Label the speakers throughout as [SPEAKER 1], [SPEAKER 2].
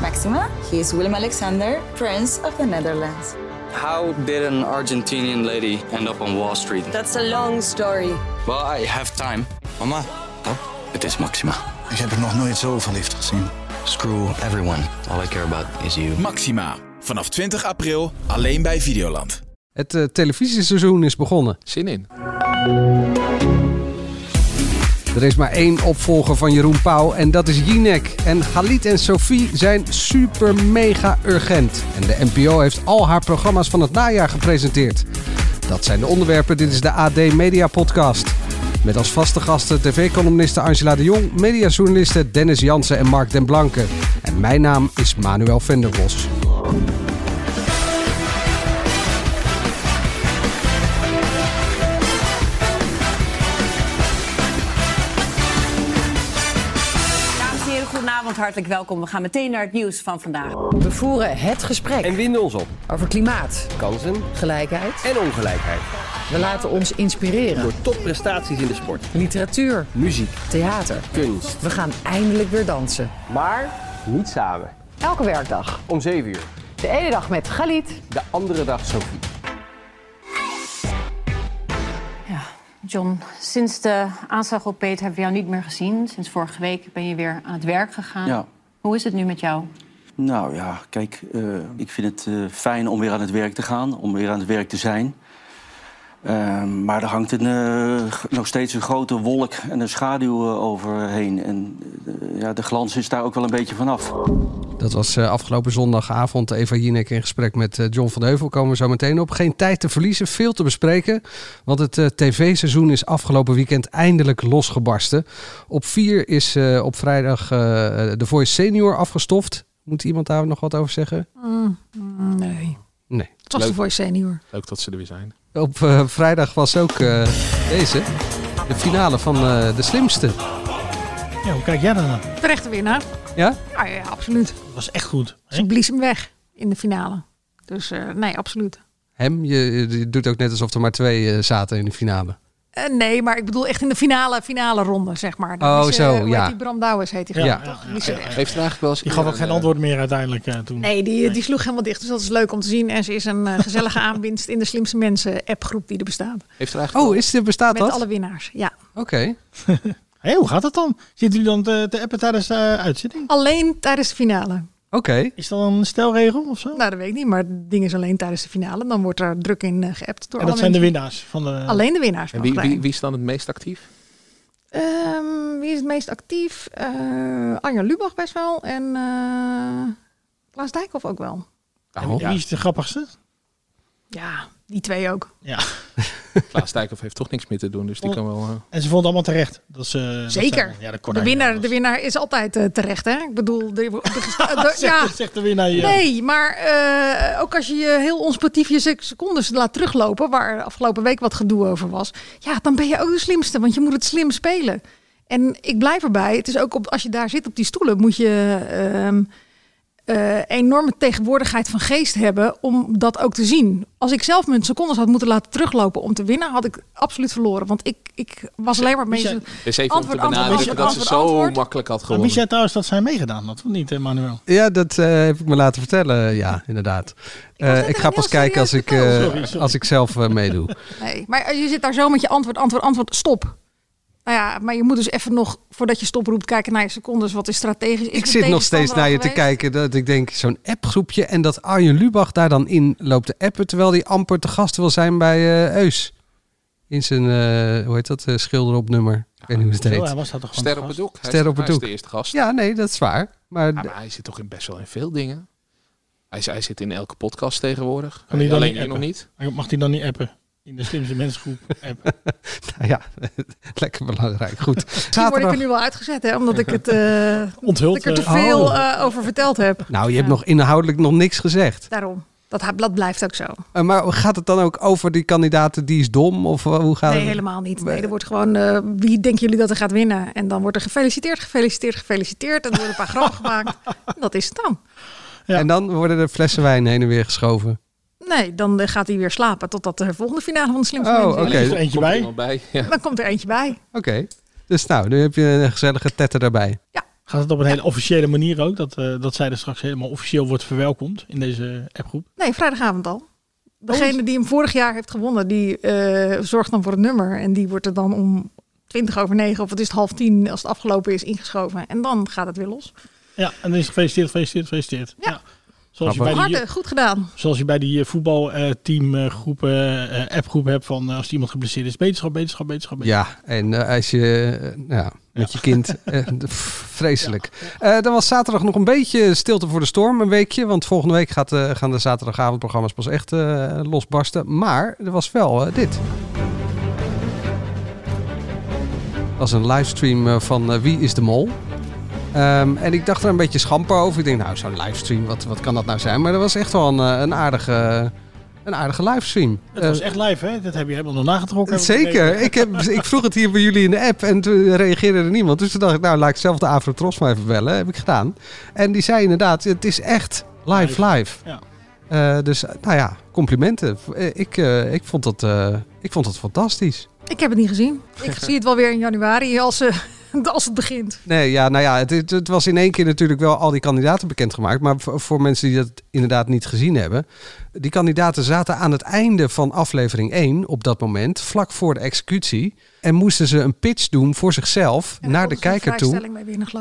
[SPEAKER 1] Maxima. He is Willem Alexander, Prince of the Netherlands.
[SPEAKER 2] How did an Argentinian lady end up on Wall Street?
[SPEAKER 3] That's a long story.
[SPEAKER 2] Well, I have time.
[SPEAKER 4] Mama,
[SPEAKER 2] Het is Maxima.
[SPEAKER 5] Ik heb er nog nooit zo verliefd gezien.
[SPEAKER 2] Screw everyone. All I care about is you.
[SPEAKER 6] Maxima. Vanaf 20 april alleen bij Videoland.
[SPEAKER 7] Het eh, televisieseizoen is begonnen.
[SPEAKER 8] Zin in.
[SPEAKER 7] Er is maar één opvolger van Jeroen Pauw en dat is Jinek. En Galit en Sophie zijn super mega urgent. En de NPO heeft al haar programma's van het najaar gepresenteerd. Dat zijn de onderwerpen. Dit is de AD Media Podcast. Met als vaste gasten tv-columniste Angela de Jong, mediajournalisten Dennis Jansen en Mark den Blanke. En mijn naam is Manuel Venderbos.
[SPEAKER 3] Dames en heren, goedenavond. Hartelijk welkom. We gaan meteen naar het nieuws van vandaag.
[SPEAKER 9] We voeren het gesprek
[SPEAKER 10] en winden ons op.
[SPEAKER 9] over klimaat,
[SPEAKER 10] Kansen
[SPEAKER 9] gelijkheid.
[SPEAKER 10] en ongelijkheid.
[SPEAKER 9] We laten ons inspireren.
[SPEAKER 10] Door topprestaties in de sport,
[SPEAKER 9] Literatuur,
[SPEAKER 10] muziek,
[SPEAKER 9] theater.
[SPEAKER 10] kunst.
[SPEAKER 9] We gaan eindelijk weer dansen.
[SPEAKER 10] Maar niet samen.
[SPEAKER 9] Elke werkdag.
[SPEAKER 10] Om 7 uur.
[SPEAKER 9] De ene dag met Galit.
[SPEAKER 10] De andere dag Sophie.
[SPEAKER 11] Ja, John, sinds de aanslag op Peter hebben we jou niet meer gezien. Sinds vorige week ben je weer aan het werk gegaan.
[SPEAKER 12] Ja.
[SPEAKER 11] Hoe is het nu met jou?
[SPEAKER 12] Nou ja, kijk, eh, ik vind het eh, fijn om weer aan het werk te gaan, om weer aan het werk te zijn. Eh, maar er hangt een, eh, g- nog steeds een grote wolk en een schaduw eh, overheen. En eh, ja, de glans is daar ook wel een beetje vanaf.
[SPEAKER 7] Dat was eh, afgelopen zondagavond Eva Jinek in gesprek met eh, John van Heuvel. Komen we zo meteen op. Geen tijd te verliezen, veel te bespreken. Want het eh, tv-seizoen is afgelopen weekend eindelijk losgebarsten. Op 4 is eh, op vrijdag eh The Voice Senior afgestoft. Moet iemand daar nog wat over zeggen?
[SPEAKER 9] nee.
[SPEAKER 7] Nee.
[SPEAKER 9] Het was de
[SPEAKER 8] Leuk.
[SPEAKER 9] Voice Senior.
[SPEAKER 8] Leuk dat ze er weer zijn.
[SPEAKER 7] Op eh, vrijdag was ook eh, deze. De finale van eh, De Slimste.
[SPEAKER 13] Ja, hoe kijk jij daarna?
[SPEAKER 9] Terechte winnaar.
[SPEAKER 7] Ja?
[SPEAKER 9] Nou ja, absoluut.
[SPEAKER 13] Dat was echt goed. hè?
[SPEAKER 9] Ze blies hem weg in de finale. Dus eh, nee, absoluut.
[SPEAKER 7] Hem, je, je doet ook net alsof er maar twee eh, zaten in de finale.
[SPEAKER 9] Eh, nee, maar ik bedoel echt in de finale, finale ronde, zeg maar. Dan
[SPEAKER 7] Oh,
[SPEAKER 9] is,
[SPEAKER 7] zo,
[SPEAKER 9] eh, hoe heet
[SPEAKER 7] ja.
[SPEAKER 9] Die Bram Douwens heet die.
[SPEAKER 7] Ja.
[SPEAKER 9] gewoon, toch? Die is er echt.
[SPEAKER 8] Heeft het eigenlijk wel eens...
[SPEAKER 13] Die gaf ook
[SPEAKER 8] een,
[SPEAKER 13] geen
[SPEAKER 8] eh,
[SPEAKER 13] antwoord meer uiteindelijk eh, toen.
[SPEAKER 9] Nee, die, die sloeg helemaal dicht. Dus dat is leuk om te zien. En ze is een eh, gezellige aanwinst in de slimste mensen appgroep die er bestaat.
[SPEAKER 8] Heeft er eigenlijk
[SPEAKER 7] Oh, is, dit- bestaat
[SPEAKER 9] Met
[SPEAKER 7] dat?
[SPEAKER 9] alle winnaars, ja.
[SPEAKER 7] Oké.
[SPEAKER 13] Hé, hoe gaat dat dan? Zitten jullie dan te, te appen tijdens de eh, uitzending?
[SPEAKER 9] Alleen tijdens de finale.
[SPEAKER 7] Oké.
[SPEAKER 13] Is dat een stelregel of zo?
[SPEAKER 9] Nou, dat weet ik niet, maar het ding is alleen tijdens de finale. Dan wordt er druk in eh, geappt door
[SPEAKER 13] en
[SPEAKER 9] alle
[SPEAKER 13] dat zijn de
[SPEAKER 9] mensen.
[SPEAKER 13] winnaars van de...
[SPEAKER 9] Alleen de winnaars.
[SPEAKER 8] En
[SPEAKER 9] mag
[SPEAKER 8] wie,
[SPEAKER 9] erbij.
[SPEAKER 8] wie, wie is dan het meest actief?
[SPEAKER 9] Ehm, wie is het meest actief? Eh, Anja Lubach best wel. En eh Klaas Dijkhoff ook wel.
[SPEAKER 13] En Wie is de grappigste?
[SPEAKER 9] Ja, die twee ook.
[SPEAKER 8] Klaas Dijkhoff heeft toch niks meer te doen, dus die
[SPEAKER 13] Oh.
[SPEAKER 8] kan wel... eh,
[SPEAKER 13] En ze vonden allemaal terecht. Dat ze, dat
[SPEAKER 9] Zeker.
[SPEAKER 13] ze- ja, dat kon
[SPEAKER 9] De
[SPEAKER 13] hij niet
[SPEAKER 9] winnaar, de
[SPEAKER 13] anders.
[SPEAKER 9] winnaar is altijd eh, terecht, hè? Ik bedoel, de, de gesta- de-
[SPEAKER 13] Zegt,
[SPEAKER 9] ja.
[SPEAKER 13] zegt de winnaar hier.
[SPEAKER 9] Nee, maar eh, ook als je je heel onsportief je sec- secondes laat teruglopen, waar afgelopen week wat gedoe over was, ja, dan ben je ook de slimste, want je moet het slim spelen. En ik blijf erbij, het is ook op, als je daar zit op die stoelen, moet je ehm, eh, enorme tegenwoordigheid van geest hebben om dat ook te zien. Als ik zelf mijn secondes had moeten laten teruglopen om te winnen, had ik absoluut verloren, want ik, ik was alleen maar
[SPEAKER 13] Michel-
[SPEAKER 9] mee.
[SPEAKER 8] Dus even
[SPEAKER 9] Antwoord,
[SPEAKER 8] om te
[SPEAKER 9] antwoord,
[SPEAKER 8] benadrukken
[SPEAKER 9] antwoord,
[SPEAKER 8] dat ze
[SPEAKER 9] antwoord,
[SPEAKER 8] zo
[SPEAKER 9] antwoord.
[SPEAKER 8] makkelijk had
[SPEAKER 13] Maar wist
[SPEAKER 8] gewonnen.
[SPEAKER 13] jij trouwens dat zij meegedaan had? Of niet, eh, Manuel?
[SPEAKER 7] Ja, dat eh, heb ik me laten vertellen. Ja, inderdaad.
[SPEAKER 9] was
[SPEAKER 7] Eh,
[SPEAKER 9] net
[SPEAKER 7] ik
[SPEAKER 9] een
[SPEAKER 7] ga
[SPEAKER 9] heel
[SPEAKER 7] pas kijken als
[SPEAKER 9] serieus Dus
[SPEAKER 7] ik, eh,
[SPEAKER 13] verhaal. Sorry, sorry.
[SPEAKER 7] als ik zelf eh, meedoe.
[SPEAKER 9] Nee, maar eh, je zit daar zo met je antwoord, antwoord, antwoord, stop. Nou ja, maar je moet dus even nog, voordat je stop roept, kijken naar je secondes. Wat is strategisch? Is
[SPEAKER 7] Ik
[SPEAKER 9] de
[SPEAKER 7] zit nog steeds
[SPEAKER 9] tegenstander
[SPEAKER 7] naar je
[SPEAKER 9] al
[SPEAKER 7] te
[SPEAKER 9] geweest?
[SPEAKER 7] kijken dat ik denk, zo'n appgroepje. En dat Arjen Lubach daar dan in loopt te appen. Terwijl hij amper te gast wil zijn bij eh, Eus. In zijn, eh, hoe heet dat, eh, schilder op nummer. Ik weet niet hoe het
[SPEAKER 13] Zo, hij
[SPEAKER 7] heet.
[SPEAKER 13] was dat toch gewoon
[SPEAKER 8] Ster op
[SPEAKER 13] gast?
[SPEAKER 8] het doek. Hij
[SPEAKER 7] Ster
[SPEAKER 8] is-
[SPEAKER 7] op het
[SPEAKER 8] hij is
[SPEAKER 7] doek.
[SPEAKER 8] de eerste gast.
[SPEAKER 7] Ja, nee, dat is waar. Maar,
[SPEAKER 13] Ah,
[SPEAKER 8] Ja, maar hij zit toch in best wel in veel dingen. Hij, is- hij zit in elke podcast tegenwoordig.
[SPEAKER 13] Kan hij dan
[SPEAKER 8] Alleen
[SPEAKER 13] niet
[SPEAKER 8] hier nog
[SPEAKER 13] appen?
[SPEAKER 8] niet.
[SPEAKER 13] Mag hij dan niet appen? In de slimste mensengroep appen.
[SPEAKER 7] nou ja, lekker belangrijk. Goed.
[SPEAKER 9] Misschien word ik er
[SPEAKER 7] Zaterdag.
[SPEAKER 9] nu wel uitgezet, hè? Omdat ik, het, eh, dat
[SPEAKER 13] Onthuld.
[SPEAKER 9] ik er te
[SPEAKER 13] eh,
[SPEAKER 9] veel
[SPEAKER 7] Oh.
[SPEAKER 9] eh, over verteld heb.
[SPEAKER 7] Nou, je hebt nog inhoudelijk nog niks gezegd.
[SPEAKER 9] Daarom. Dat, dat blijft ook zo.
[SPEAKER 7] Eh, maar gaat het dan ook over die kandidaten die is dom? Of eh, hoe gaat
[SPEAKER 9] Nee,
[SPEAKER 7] het?
[SPEAKER 9] helemaal niet. Nee, er wordt gewoon, eh, wie denken jullie dat er gaat winnen? En dan wordt er gefeliciteerd, gefeliciteerd, gefeliciteerd. En er worden een paar grappen gemaakt. En Dat is het dan.
[SPEAKER 13] Ja.
[SPEAKER 7] En dan worden er flessen wijn heen en weer geschoven.
[SPEAKER 9] Nee, dan eh, gaat hij weer slapen totdat de volgende finale van de slimste
[SPEAKER 7] Oh,
[SPEAKER 9] mensen is.
[SPEAKER 7] oké.
[SPEAKER 13] Er is er eentje
[SPEAKER 8] Komt er
[SPEAKER 13] bij.
[SPEAKER 8] iemand bij. Ja.
[SPEAKER 9] Dan komt er eentje bij.
[SPEAKER 7] Oké. Dus nou, nu heb je een gezellige tetter daarbij.
[SPEAKER 9] Ja.
[SPEAKER 13] Gaat het op een hele officiële manier ook? Dat, eh, dat zij er straks helemaal officieel wordt verwelkomd in deze appgroep?
[SPEAKER 9] Nee, vrijdagavond al.
[SPEAKER 7] Oh.
[SPEAKER 9] Degene die hem vorig jaar heeft gewonnen, die eh, zorgt dan voor het nummer. En die wordt er dan om 20 over 9 of het is half 10 als het afgelopen is ingeschoven. En dan gaat het weer los.
[SPEAKER 13] Ja, en dan is het gefeliciteerd, gefeliciteerd, gefeliciteerd. Ja. Zoals, je bij die,
[SPEAKER 9] Harde, goed gedaan.
[SPEAKER 13] zoals je bij die eh, voetbalteamgroepen, appgroep hebt van eh, als iemand geblesseerd is, beterschap, beterschap, beterschap. beterschap.
[SPEAKER 7] Ja, en eh, als je eh, nou, ja, met je kind, eh, pff, vreselijk. Eh, dan was zaterdag nog een beetje stilte voor de storm, een weekje. Want volgende week gaat, eh, gaan de zaterdagavondprogramma's pas echt eh, losbarsten. Maar er was wel eh, dit. Dat was een livestream eh, van eh, Wie is de Mol? Ehm, en ik dacht er een beetje schamper over. Ik denk, nou, zo'n livestream, wat, wat kan dat nou zijn? Maar dat was echt wel een, eh, een aardige, een aardige livestream.
[SPEAKER 13] Het was
[SPEAKER 7] Eh,
[SPEAKER 13] echt live, hè? Dat heb je helemaal nog nagetrokken. heb ik
[SPEAKER 7] Zeker.
[SPEAKER 13] begrepen.
[SPEAKER 7] Ik, heb, ik vroeg het hier bij jullie in de app en toen reageerde er niemand. Dus toen dacht ik, nou laat ik zelf de Afro Tros maar even bellen. Heb ik gedaan. En die zei inderdaad, het is echt live live.
[SPEAKER 13] Ja.
[SPEAKER 7] Eh, dus nou ja, complimenten. Eh, Ik, eh, ik, vond dat, eh, ik vond dat fantastisch.
[SPEAKER 9] Ik heb het niet gezien. Ik zie het wel weer in januari als, eh, als het begint.
[SPEAKER 7] Nee, ja, nou ja, het, het, het was in één keer natuurlijk wel al die kandidaten bekendgemaakt. Maar voor, voor mensen die dat inderdaad niet gezien hebben. Die kandidaten zaten aan het einde van aflevering 1 op dat moment, vlak voor de executie. En moesten ze een pitch doen voor zichzelf naar de kijker toe.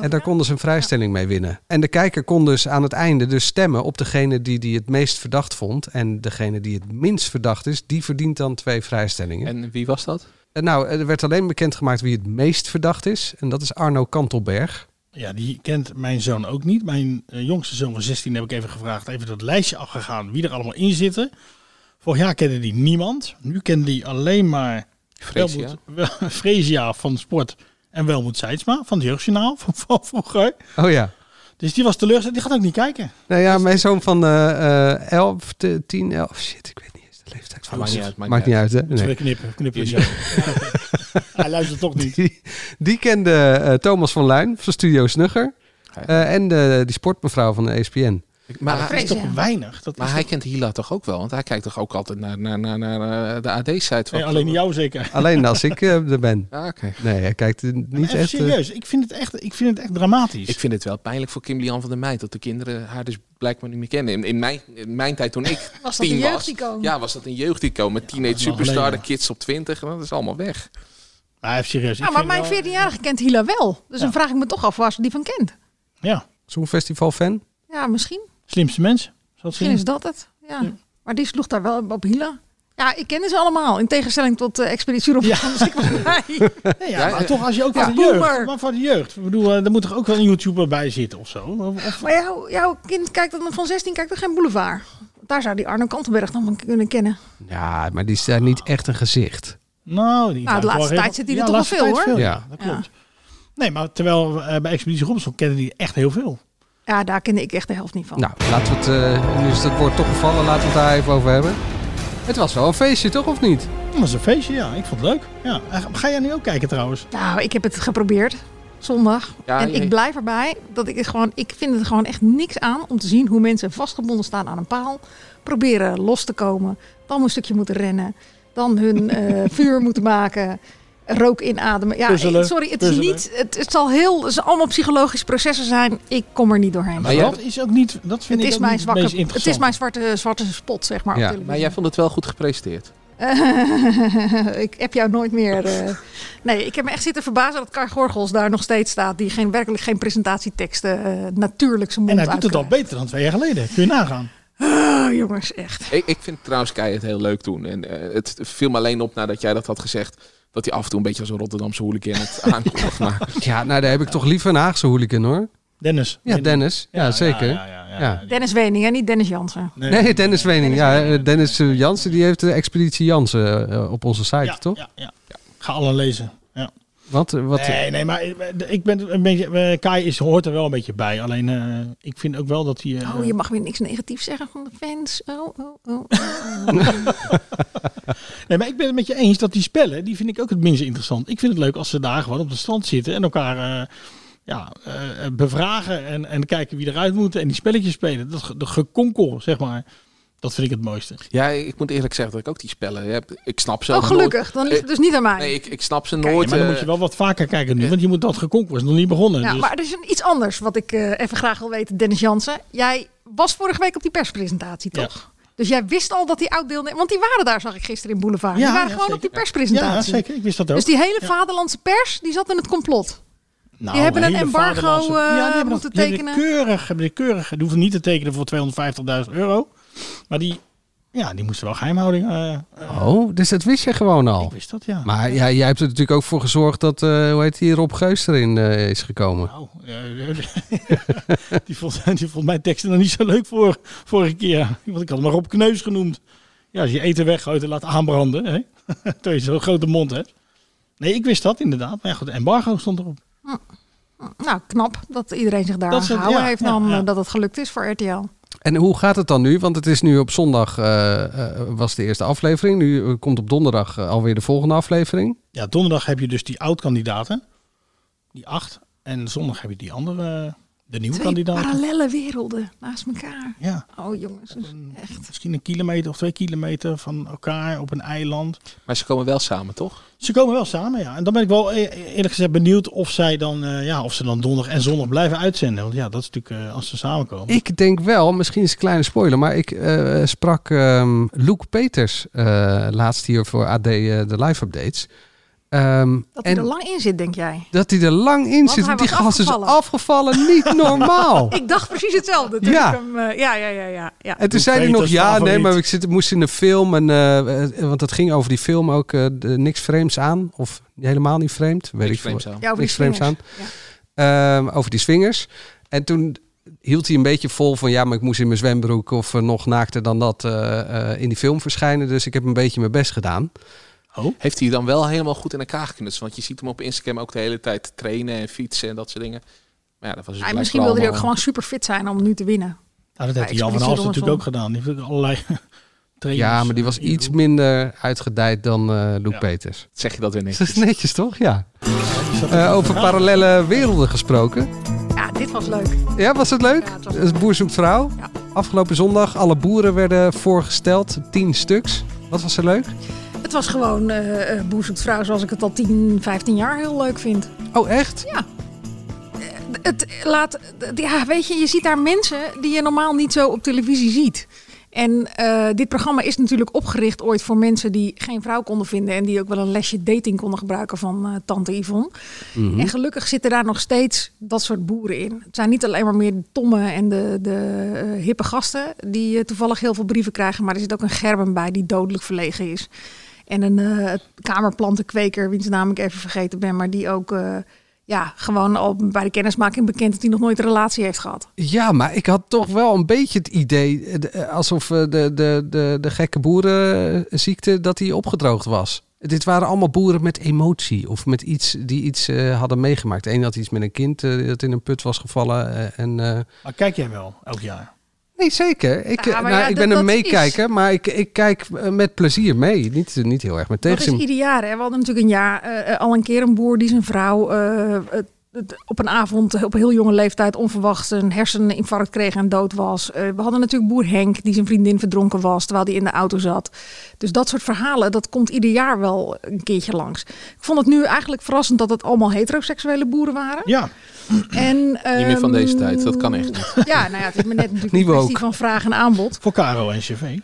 [SPEAKER 7] En daar konden ze een vrijstelling mee winnen. En de kijker kon dus aan het einde dus stemmen op degene die die het meest verdacht vond. En degene die het minst verdacht is, die verdient dan twee vrijstellingen.
[SPEAKER 8] En wie was dat?
[SPEAKER 7] En nou, er werd alleen bekendgemaakt wie het meest verdacht is. En dat is Arno Kantelberg.
[SPEAKER 13] Ja, die kent mijn zoon ook niet. Mijn eh, jongste zoon van 16 heb ik even gevraagd, even dat lijstje afgegaan, wie er allemaal in zitten. Vorig jaar kende die niemand. Nu kende die alleen maar
[SPEAKER 8] Freesia.
[SPEAKER 13] Welmoed- Wel- Freesia van Sport en Welmoed Seidsma van het Jeugdjournaal van, van vroeger.
[SPEAKER 7] Oh ja.
[SPEAKER 13] Dus die was teleurgesteld, die gaat ook niet kijken.
[SPEAKER 7] Nou ja, mijn zoon van eh, eh, 11, te- 10, 11. Shit, ik weet niet eens de leeftijd van.
[SPEAKER 8] Maakt
[SPEAKER 7] mijn
[SPEAKER 8] niet uit,
[SPEAKER 7] zoon.
[SPEAKER 8] maakt
[SPEAKER 7] Maakt
[SPEAKER 8] niet
[SPEAKER 7] niet uit, hè?
[SPEAKER 13] Moeten we
[SPEAKER 7] Nee.
[SPEAKER 13] knippen, knippen we
[SPEAKER 8] Yes.
[SPEAKER 13] zo. Hij luistert toch niet.
[SPEAKER 7] Die, die kende eh, Thomas van Luijn van Studio Snugger. Eh, en de, die sportmevrouw van de E ESPN.
[SPEAKER 8] Maar,
[SPEAKER 13] Dat is toch weinig? Dat
[SPEAKER 8] maar
[SPEAKER 13] is
[SPEAKER 8] hij
[SPEAKER 13] toch-
[SPEAKER 8] kent Hila toch ook wel? Want hij kijkt toch ook altijd naar, naar, naar, naar eh, de AD-site?
[SPEAKER 13] Nee, alleen jou zeker.
[SPEAKER 7] Alleen als ik eh, er ben.
[SPEAKER 8] Ah, oké.
[SPEAKER 7] Nee, hij kijkt eh,
[SPEAKER 13] Maar
[SPEAKER 7] niet
[SPEAKER 13] even
[SPEAKER 7] echt. eh,
[SPEAKER 13] serieus, ik vind het echt, ik vind het echt dramatisch.
[SPEAKER 8] Ik vind het wel pijnlijk voor Kim Lian van der Meid dat de kinderen haar dus blijkbaar niet meer kennen. In, in, mijn, in mijn tijd toen ik
[SPEAKER 9] Was dat
[SPEAKER 8] tien
[SPEAKER 9] een
[SPEAKER 8] was,
[SPEAKER 9] jeugdicoon?
[SPEAKER 8] ja, was dat een jeugdicoon met teenage
[SPEAKER 13] is wel
[SPEAKER 8] superstar, de
[SPEAKER 13] geleden.
[SPEAKER 8] kids op 20, en dat is allemaal weg.
[SPEAKER 13] Maar even serieus.
[SPEAKER 9] Ja,
[SPEAKER 13] ik
[SPEAKER 9] maar
[SPEAKER 13] vind
[SPEAKER 9] mijn
[SPEAKER 13] wel-
[SPEAKER 9] 14-jarige kent Hila wel. Dus dan
[SPEAKER 13] Ja.
[SPEAKER 9] vraag ik me toch af waar ze die van kent.
[SPEAKER 13] Ja,
[SPEAKER 7] Songfestival-fan?
[SPEAKER 9] Ja, misschien.
[SPEAKER 13] slimste mens. Zal het
[SPEAKER 9] Misschien
[SPEAKER 13] zien?
[SPEAKER 9] is dat het. Ja. Maar die sloeg daar wel op Hila. Ja, ik kende ze allemaal. In tegenstelling tot eh Expeditie Robinson. Dus ik was blij.
[SPEAKER 13] Nee, ja,
[SPEAKER 8] Ja,
[SPEAKER 13] maar
[SPEAKER 8] ja.
[SPEAKER 13] toch als je ook
[SPEAKER 9] Ja,
[SPEAKER 13] van de jeugd,
[SPEAKER 9] boomer.
[SPEAKER 13] maar van de jeugd. Ik bedoel, eh, er moet toch ook wel een YouTuber bij zitten of zo. Of- of-
[SPEAKER 9] Maar jouw, jouw kind kijkt dan van 16 kijkt dan geen boulevard. Daar zou die Arno Kantenberg dan van kunnen kennen.
[SPEAKER 7] Ja, maar die is daar niet echt een gezicht.
[SPEAKER 13] nou, die
[SPEAKER 9] Nou, de laatste tijd zit hij er toch wel veel, hoor.
[SPEAKER 13] Ja, dat klopt. Nee, maar terwijl eh, bij Expeditie Robinson kende die echt heel veel.
[SPEAKER 9] Ja, daar kende ik echt de helft niet van.
[SPEAKER 7] Nou, laten we het. eh, nu is het woord toch gevallen, laten we het daar even over hebben. Het was wel een feestje, toch of niet?
[SPEAKER 13] Hm, Dat is een feestje, ja. Ik vond het leuk. Ja. Eh, Ga jij nu ook kijken trouwens?
[SPEAKER 9] Nou, ik heb het geprobeerd zondag.
[SPEAKER 8] Ja,
[SPEAKER 9] en
[SPEAKER 8] je-
[SPEAKER 9] ik blijf erbij dat ik het gewoon, ik vind het gewoon echt niks aan om te zien hoe mensen vastgebonden staan aan een paal, proberen los te komen, dan een stukje moeten rennen, dan hun eh, vuur moeten maken, rook inademen. Ja,
[SPEAKER 13] Puzzelen,
[SPEAKER 9] eh, sorry, het
[SPEAKER 13] puzzelen.
[SPEAKER 9] is niet, het, het zal heel, het zal allemaal psychologische processen zijn. Ik kom er niet doorheen.
[SPEAKER 8] Maar jij-
[SPEAKER 13] dat is ook niet, dat vind ik
[SPEAKER 9] het is
[SPEAKER 13] ook
[SPEAKER 9] mijn
[SPEAKER 13] niet het meest
[SPEAKER 9] zwakke, het
[SPEAKER 13] interessant.
[SPEAKER 9] is mijn zwarte, zwarte spot zeg maar.
[SPEAKER 7] Ja,
[SPEAKER 9] op
[SPEAKER 8] Maar
[SPEAKER 9] televisie.
[SPEAKER 8] jij vond het wel goed gepresenteerd.
[SPEAKER 9] ik heb jou nooit meer. eh, Nee, ik heb me echt zitten verbazen dat Kar Gorgels daar nog steeds staat. Die geen, werkelijk geen presentatieteksten eh, natuurlijk zijn mond
[SPEAKER 13] En hij doet het al
[SPEAKER 9] uit kan.
[SPEAKER 13] beter dan twee jaar geleden. Kun je nagaan.
[SPEAKER 9] Ah, jongens, echt.
[SPEAKER 8] Ik, ik vind trouwens Kei het heel leuk toen. En eh, het viel me alleen op nadat jij dat had gezegd, dat hij af en toe een beetje als een Rotterdamse hooligan het aankondigt. Maar
[SPEAKER 7] Ja, nou daar heb ik toch liever een Haagse hooligan hoor.
[SPEAKER 13] Dennis.
[SPEAKER 7] Ja, Dennis. Ja, zeker.
[SPEAKER 13] Ja, ja, ja,
[SPEAKER 7] Ja.
[SPEAKER 13] ja.
[SPEAKER 9] Dennis Wening en niet Dennis Jansen.
[SPEAKER 7] Nee, Dennis Wening. Ja, eh, Dennis eh, Jansen, die heeft de Expeditie Jansen eh, op onze site,
[SPEAKER 13] Ja,
[SPEAKER 7] toch?
[SPEAKER 13] ja, ja. Ga alle lezen. Ja.
[SPEAKER 7] Wat, eh, wat,
[SPEAKER 13] Nee, nee, maar ik ben een beetje. eh, Kai is, hoort er wel een beetje bij. Alleen eh, ik vind ook wel dat hij. eh,
[SPEAKER 9] Oh, je mag weer niks negatiefs zeggen van de fans. Oh, oh, oh.
[SPEAKER 13] Nee, maar ik ben het met je eens dat die spellen, die vind ik ook het minst interessant. Ik vind het leuk als ze daar gewoon op het strand zitten en elkaar eh, ja, eh, bevragen en, en kijken wie eruit moet en die spelletjes spelen. Dat, ge- de gekonkel, zeg maar. Dat vind ik het mooiste.
[SPEAKER 8] Ja, ik moet eerlijk zeggen dat ik ook die spellen heb. Ik snap ze
[SPEAKER 9] Oh,
[SPEAKER 8] ook
[SPEAKER 9] gelukkig.
[SPEAKER 8] nooit.
[SPEAKER 9] Dan ligt het
[SPEAKER 8] Eh,
[SPEAKER 9] dus niet aan mij.
[SPEAKER 8] Nee, ik, ik snap ze
[SPEAKER 13] Ja,
[SPEAKER 8] nooit.
[SPEAKER 13] maar dan
[SPEAKER 8] eh,
[SPEAKER 13] moet je wel wat vaker kijken nu, want je moet dat gekonk was nog niet begonnen.
[SPEAKER 9] Ja,
[SPEAKER 13] dus-
[SPEAKER 9] Nou, maar er is een- iets anders wat ik eh, even graag wil weten, Dennis Jansen. Jij was vorige week op die perspresentatie,
[SPEAKER 13] Ja.
[SPEAKER 9] toch? Dus jij wist al dat die oud-deelnemers... Want die waren daar, zag ik gisteren in Boulevard. die
[SPEAKER 13] Ja,
[SPEAKER 9] waren
[SPEAKER 13] ja,
[SPEAKER 9] gewoon op
[SPEAKER 13] zeker.
[SPEAKER 9] die perspresentatie.
[SPEAKER 13] Ja, zeker. Ik wist dat ook.
[SPEAKER 9] Dus die hele
[SPEAKER 13] Ja.
[SPEAKER 9] vaderlandse pers, die zat in het complot.
[SPEAKER 13] Nou,
[SPEAKER 9] die hebben een
[SPEAKER 13] hele
[SPEAKER 9] embargo,
[SPEAKER 13] vaderlandse-
[SPEAKER 9] eh,
[SPEAKER 13] die hebben
[SPEAKER 9] moeten
[SPEAKER 13] die hebben dit
[SPEAKER 9] tekenen.
[SPEAKER 13] keurig, hebben dit keurig. Die hoeven niet te tekenen voor 250.000 euro. Maar die, ja, die moesten wel geheimhouding. eh,
[SPEAKER 7] Oh, dus dat wist je gewoon al.
[SPEAKER 13] wist dat, ja.
[SPEAKER 7] Maar ja, jij hebt er natuurlijk ook voor gezorgd dat, eh, hoe heet die, Rob Geus erin eh, is gekomen.
[SPEAKER 13] nou, eh, die, vond, die vond mijn teksten nog niet zo leuk voor vorige keer. Want ik had hem maar op kneus genoemd. Ja, als je eten weggooit en laat aanbranden. Hè? Toen je zo'n grote mond hebt. Nee, ik wist dat inderdaad. Maar ja, goed, embargo stond erop.
[SPEAKER 9] Nou, knap dat iedereen zich daar
[SPEAKER 13] Dat
[SPEAKER 9] aan
[SPEAKER 13] is het,
[SPEAKER 9] gehouden
[SPEAKER 13] ja,
[SPEAKER 9] heeft.
[SPEAKER 13] ja,
[SPEAKER 9] dan
[SPEAKER 13] ja.
[SPEAKER 9] eh, dat het gelukt is voor RTL.
[SPEAKER 7] En hoe gaat het dan nu? Want het is nu op zondag eh, eh, was de eerste aflevering. Nu eh, komt op donderdag eh, alweer de volgende aflevering.
[SPEAKER 13] Ja, donderdag heb je dus die oud-kandidaten. Die acht. En zondag heb je die andere, de nieuwe
[SPEAKER 9] Twee
[SPEAKER 13] kandidaten.
[SPEAKER 9] parallele werelden naast elkaar.
[SPEAKER 13] Ja.
[SPEAKER 9] Oh jongens, dus echt.
[SPEAKER 13] Misschien een kilometer of twee kilometer van elkaar op een eiland.
[SPEAKER 8] Maar ze komen wel samen, toch?
[SPEAKER 13] Ze komen wel samen, ja. En dan ben ik wel e- eerlijk gezegd benieuwd of zij dan, eh, ja, of ze dan donderdag en zondag blijven uitzenden. Want ja, dat is natuurlijk eh, als ze samenkomen.
[SPEAKER 7] Ik denk wel, misschien is het een kleine spoiler, maar ik eh, sprak ehm Luke Peters eh, laatst hier voor AD eh, de live updates. Ehm,
[SPEAKER 9] Dat hij
[SPEAKER 7] en
[SPEAKER 9] er lang in zit, denk jij?
[SPEAKER 7] dat hij er lang in
[SPEAKER 9] Want
[SPEAKER 7] zit.
[SPEAKER 9] hij
[SPEAKER 7] Die
[SPEAKER 9] was
[SPEAKER 7] gast is
[SPEAKER 9] afgevallen.
[SPEAKER 7] afgevallen, niet normaal.
[SPEAKER 9] Ik dacht precies hetzelfde toen
[SPEAKER 7] Ja.
[SPEAKER 9] ik hem... eh, ja, ja, ja, ja, ja.
[SPEAKER 7] En toen
[SPEAKER 13] Doe
[SPEAKER 7] zei hij nog,
[SPEAKER 13] Peters
[SPEAKER 7] ja, nee,
[SPEAKER 13] favoriet.
[SPEAKER 7] maar ik zit, moest in een film. En, eh, eh, want dat ging over die film ook eh, de- niks vreemds aan. Of helemaal niet vreemd, weet
[SPEAKER 8] Niks
[SPEAKER 7] ik veel.
[SPEAKER 8] vreemds aan.
[SPEAKER 9] Ja, over die
[SPEAKER 7] niks vreemds
[SPEAKER 9] swingers.
[SPEAKER 7] Ehm, over die swingers. En toen hield hij een beetje vol van... ja, maar ik moest in mijn zwembroek of eh, nog naakter dan dat eh, eh, in die film verschijnen. Dus ik heb een beetje mijn best gedaan.
[SPEAKER 8] Heeft hij dan wel helemaal goed in elkaar geknutst? Want je ziet hem op Instagram ook de hele tijd trainen en fietsen en dat soort dingen. Maar ja, dat was dus
[SPEAKER 9] Ja. En
[SPEAKER 8] blijkbaar
[SPEAKER 9] misschien wilde hij ook
[SPEAKER 8] allemaal-
[SPEAKER 9] gewoon super fit zijn om nu te winnen.
[SPEAKER 13] Nou, dat heeft
[SPEAKER 9] Ja,
[SPEAKER 13] Jan van
[SPEAKER 9] Expeditie
[SPEAKER 13] Alst natuurlijk
[SPEAKER 9] Robinson.
[SPEAKER 13] ook gedaan. Die heeft ook allerlei trainers.
[SPEAKER 7] Ja, maar die was
[SPEAKER 13] eh,
[SPEAKER 7] iets minder uitgedijd dan eh Luc
[SPEAKER 13] Ja.
[SPEAKER 7] Peters.
[SPEAKER 8] Zeg je dat weer
[SPEAKER 7] Dat
[SPEAKER 8] netjes?
[SPEAKER 7] is netjes, toch? Ja.
[SPEAKER 13] ingeroepen.
[SPEAKER 7] Eh, over parallele werelden gesproken.
[SPEAKER 9] Ja, dit was leuk.
[SPEAKER 7] Ja, was het leuk?
[SPEAKER 9] Ja, het was
[SPEAKER 7] Het Boer zoekt vrouw.
[SPEAKER 9] Ja.
[SPEAKER 7] Afgelopen zondag, alle boeren werden voorgesteld. Tien stuks. Wat was er leuk?
[SPEAKER 9] Het was gewoon eh eh, Boer zoekt vrouw zoals ik het al 10, 15 jaar heel leuk vind.
[SPEAKER 7] Oh, echt?
[SPEAKER 9] Het laat, d- ja, weet je, je ziet daar mensen die je normaal niet zo op televisie ziet. En eh, dit programma is natuurlijk opgericht ooit voor mensen die geen vrouw konden vinden. En die ook wel een lesje dating konden gebruiken van eh, tante Yvonne. En gelukkig zitten daar nog steeds dat soort boeren in. Het zijn niet alleen maar meer de tommen en de, de eh, hippe gasten die eh, toevallig heel veel brieven krijgen. Maar er zit ook een Gerben bij die dodelijk verlegen is. En een eh, kamerplantenkweker, wiens naam ik even vergeten ben. Maar die ook eh, ja, gewoon al bij de kennismaking bekend dat hij nog nooit een relatie heeft gehad.
[SPEAKER 7] Ja, maar ik had toch wel een beetje het idee eh, de- eh, alsof eh, de, de, de, de gekke boerenziekte eh, dat die opgedroogd was. Dit waren allemaal boeren met emotie of met iets die iets eh, hadden meegemaakt. Eén had iets met een kind eh, dat in een put was gevallen. eh, en, eh,
[SPEAKER 13] Maar kijk jij wel, elk jaar.
[SPEAKER 7] Nee, zeker. Ik,
[SPEAKER 9] Ja, maar
[SPEAKER 7] nou,
[SPEAKER 9] ja,
[SPEAKER 7] ik
[SPEAKER 9] dat-
[SPEAKER 7] ben een
[SPEAKER 9] dat is-
[SPEAKER 7] meekijker, maar ik, ik kijk eh, met plezier mee. Niet, niet heel erg met
[SPEAKER 9] Dat is
[SPEAKER 7] tegenzin.
[SPEAKER 9] ieder jaar. Hè? We hadden natuurlijk een jaar eh, eh, al een keer een boer die zijn vrouw eh, eh, het- op een avond eh, op een heel jonge leeftijd onverwacht een herseninfarct kreeg en dood was. Eh, we hadden natuurlijk boer Henk die zijn vriendin verdronken was terwijl die in de auto zat. Dus dat soort verhalen, dat komt ieder jaar wel een keertje langs. Ik vond het nu eigenlijk verrassend dat het allemaal heteroseksuele boeren waren.
[SPEAKER 13] Ja,
[SPEAKER 9] En,
[SPEAKER 8] Niet meer van deze tijd, dat kan
[SPEAKER 9] ehm,
[SPEAKER 8] echt niet.
[SPEAKER 9] Ja, nou ja, het is maar net natuurlijk
[SPEAKER 7] Niet
[SPEAKER 9] een kwestie
[SPEAKER 7] woke.
[SPEAKER 9] van vraag en aanbod.
[SPEAKER 13] voor Caro en CV.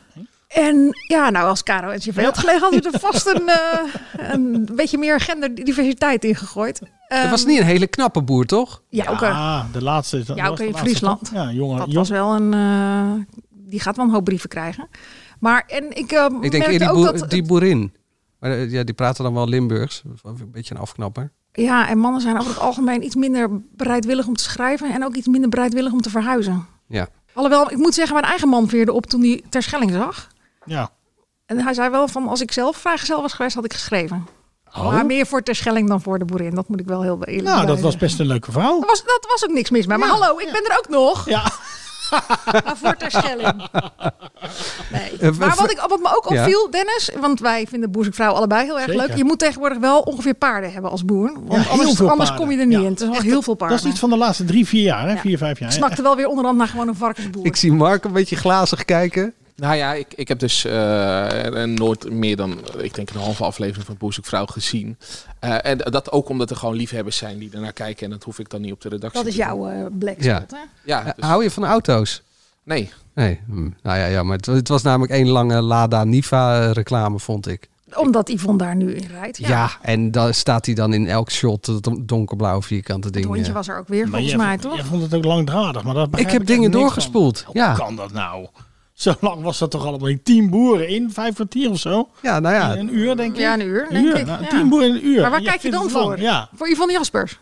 [SPEAKER 9] En ja, nou als Caro en CV had gelegen, hadden we er vast een, eh, een beetje meer genderdiversiteit in gegooid. Eh,
[SPEAKER 7] Het was niet een hele knappe boer, toch?
[SPEAKER 9] Ja, ook, eh,
[SPEAKER 13] Ah, de laatste. dat
[SPEAKER 9] Ja,
[SPEAKER 13] was
[SPEAKER 9] ook
[SPEAKER 13] de
[SPEAKER 9] in
[SPEAKER 13] laatste,
[SPEAKER 9] Friesland.
[SPEAKER 13] toch? Ja, jongen.
[SPEAKER 9] dat
[SPEAKER 13] jong-
[SPEAKER 9] was wel een... eh, die gaat wel een hoop brieven krijgen. Maar en ik, eh,
[SPEAKER 7] Ik denk
[SPEAKER 9] merkte
[SPEAKER 7] eerder
[SPEAKER 9] ook
[SPEAKER 7] die, boer-
[SPEAKER 9] dat...
[SPEAKER 7] die boerin. Maar eh, ja, die praten dan wel Limburgs. Een beetje een afknapper.
[SPEAKER 9] Ja, en mannen zijn over het algemeen iets minder bereidwillig om te schrijven... en ook iets minder bereidwillig om te verhuizen.
[SPEAKER 7] Ja.
[SPEAKER 9] Alhoewel, ik moet zeggen, mijn eigen man veerde op toen hij Terschelling zag.
[SPEAKER 13] Ja.
[SPEAKER 9] En hij zei wel van, als ik zelf vrijgezel was geweest, had ik geschreven.
[SPEAKER 7] Oh.
[SPEAKER 9] Maar meer voor Terschelling dan voor de boerin. Dat moet ik wel heel eerlijk
[SPEAKER 13] Nou, dat
[SPEAKER 9] bij
[SPEAKER 13] was
[SPEAKER 9] zeggen.
[SPEAKER 13] best een leuke vrouw.
[SPEAKER 9] Dat was, dat was ook niks mis mee. Maar hallo, ik ben er ook nog.
[SPEAKER 13] Ja.
[SPEAKER 9] Maar voor Terschelling. Nee.
[SPEAKER 7] Eh,
[SPEAKER 9] Maar
[SPEAKER 7] ver-
[SPEAKER 9] wat, ik, wat me ook
[SPEAKER 7] Ja.
[SPEAKER 9] opviel, Dennis, want wij vinden boer zoekt vrouw allebei heel erg
[SPEAKER 13] Zeker.
[SPEAKER 9] leuk. Je moet tegenwoordig wel ongeveer paarden hebben als boer. Want
[SPEAKER 13] Ja, heel
[SPEAKER 9] anders,
[SPEAKER 13] veel
[SPEAKER 9] anders
[SPEAKER 13] paarden.
[SPEAKER 9] kom je er niet
[SPEAKER 13] Ja.
[SPEAKER 9] in. Het is wel
[SPEAKER 13] Echt,
[SPEAKER 9] heel veel
[SPEAKER 13] Dat
[SPEAKER 9] paarden.
[SPEAKER 13] is iets van de laatste drie, vier jaar, hè?
[SPEAKER 9] Ja.
[SPEAKER 13] Vier, vijf jaar.
[SPEAKER 9] Ik snakte wel weer onderhand naar gewoon een varkensboer.
[SPEAKER 7] Ik zie Mark een beetje glazig kijken.
[SPEAKER 8] Nou ja, ik, ik heb dus eh, en nooit meer dan, eh, ik denk, een halve aflevering van Boezek Vrouw gezien. Eh, en dat ook omdat er gewoon liefhebbers zijn die ernaar kijken. En dat hoef ik dan niet op de redactie
[SPEAKER 9] Dat is
[SPEAKER 8] te doen.
[SPEAKER 9] jouw eh black
[SPEAKER 7] Ja.
[SPEAKER 9] spot, hè?
[SPEAKER 8] Ja,
[SPEAKER 7] Eh,
[SPEAKER 8] dus-
[SPEAKER 7] Hou je van auto's?
[SPEAKER 8] Nee.
[SPEAKER 7] Nee, hm. nou ja, ja maar het, het was namelijk één lange Lada Niva eh, reclame, vond ik.
[SPEAKER 9] Omdat Yvonne daar nu in rijdt.
[SPEAKER 7] Ja,
[SPEAKER 9] Ja,
[SPEAKER 7] en daar staat hij dan in elk shot, dat don- donkerblauwe vierkante ding.
[SPEAKER 9] het hondje
[SPEAKER 7] eh.
[SPEAKER 9] was er ook weer,
[SPEAKER 13] Maar
[SPEAKER 9] volgens
[SPEAKER 13] jij,
[SPEAKER 9] mij,
[SPEAKER 13] vond-
[SPEAKER 9] toch?
[SPEAKER 13] jij vond het ook langdradig, maar dat
[SPEAKER 7] Ik
[SPEAKER 13] begrijp
[SPEAKER 7] heb
[SPEAKER 13] echt
[SPEAKER 7] dingen
[SPEAKER 13] niks van.
[SPEAKER 7] doorgespoeld.
[SPEAKER 13] Hoe
[SPEAKER 7] Ja.
[SPEAKER 13] kan dat nou? Zo lang was dat toch allemaal niet? Tien boeren in vijf kwartier of zo?
[SPEAKER 7] ja, nou ja.
[SPEAKER 13] Een uur, denk ik?
[SPEAKER 9] Ja, een uur,
[SPEAKER 13] Een
[SPEAKER 9] denk
[SPEAKER 13] uur,
[SPEAKER 9] ik.
[SPEAKER 13] nou,
[SPEAKER 9] Ja.
[SPEAKER 13] Tien boeren in een uur.
[SPEAKER 9] Maar waar
[SPEAKER 13] Jij
[SPEAKER 9] kijk je
[SPEAKER 13] vindt
[SPEAKER 9] dan
[SPEAKER 13] het lang,
[SPEAKER 9] voor?
[SPEAKER 13] Ja.
[SPEAKER 9] Voor Yvonne Jaspers.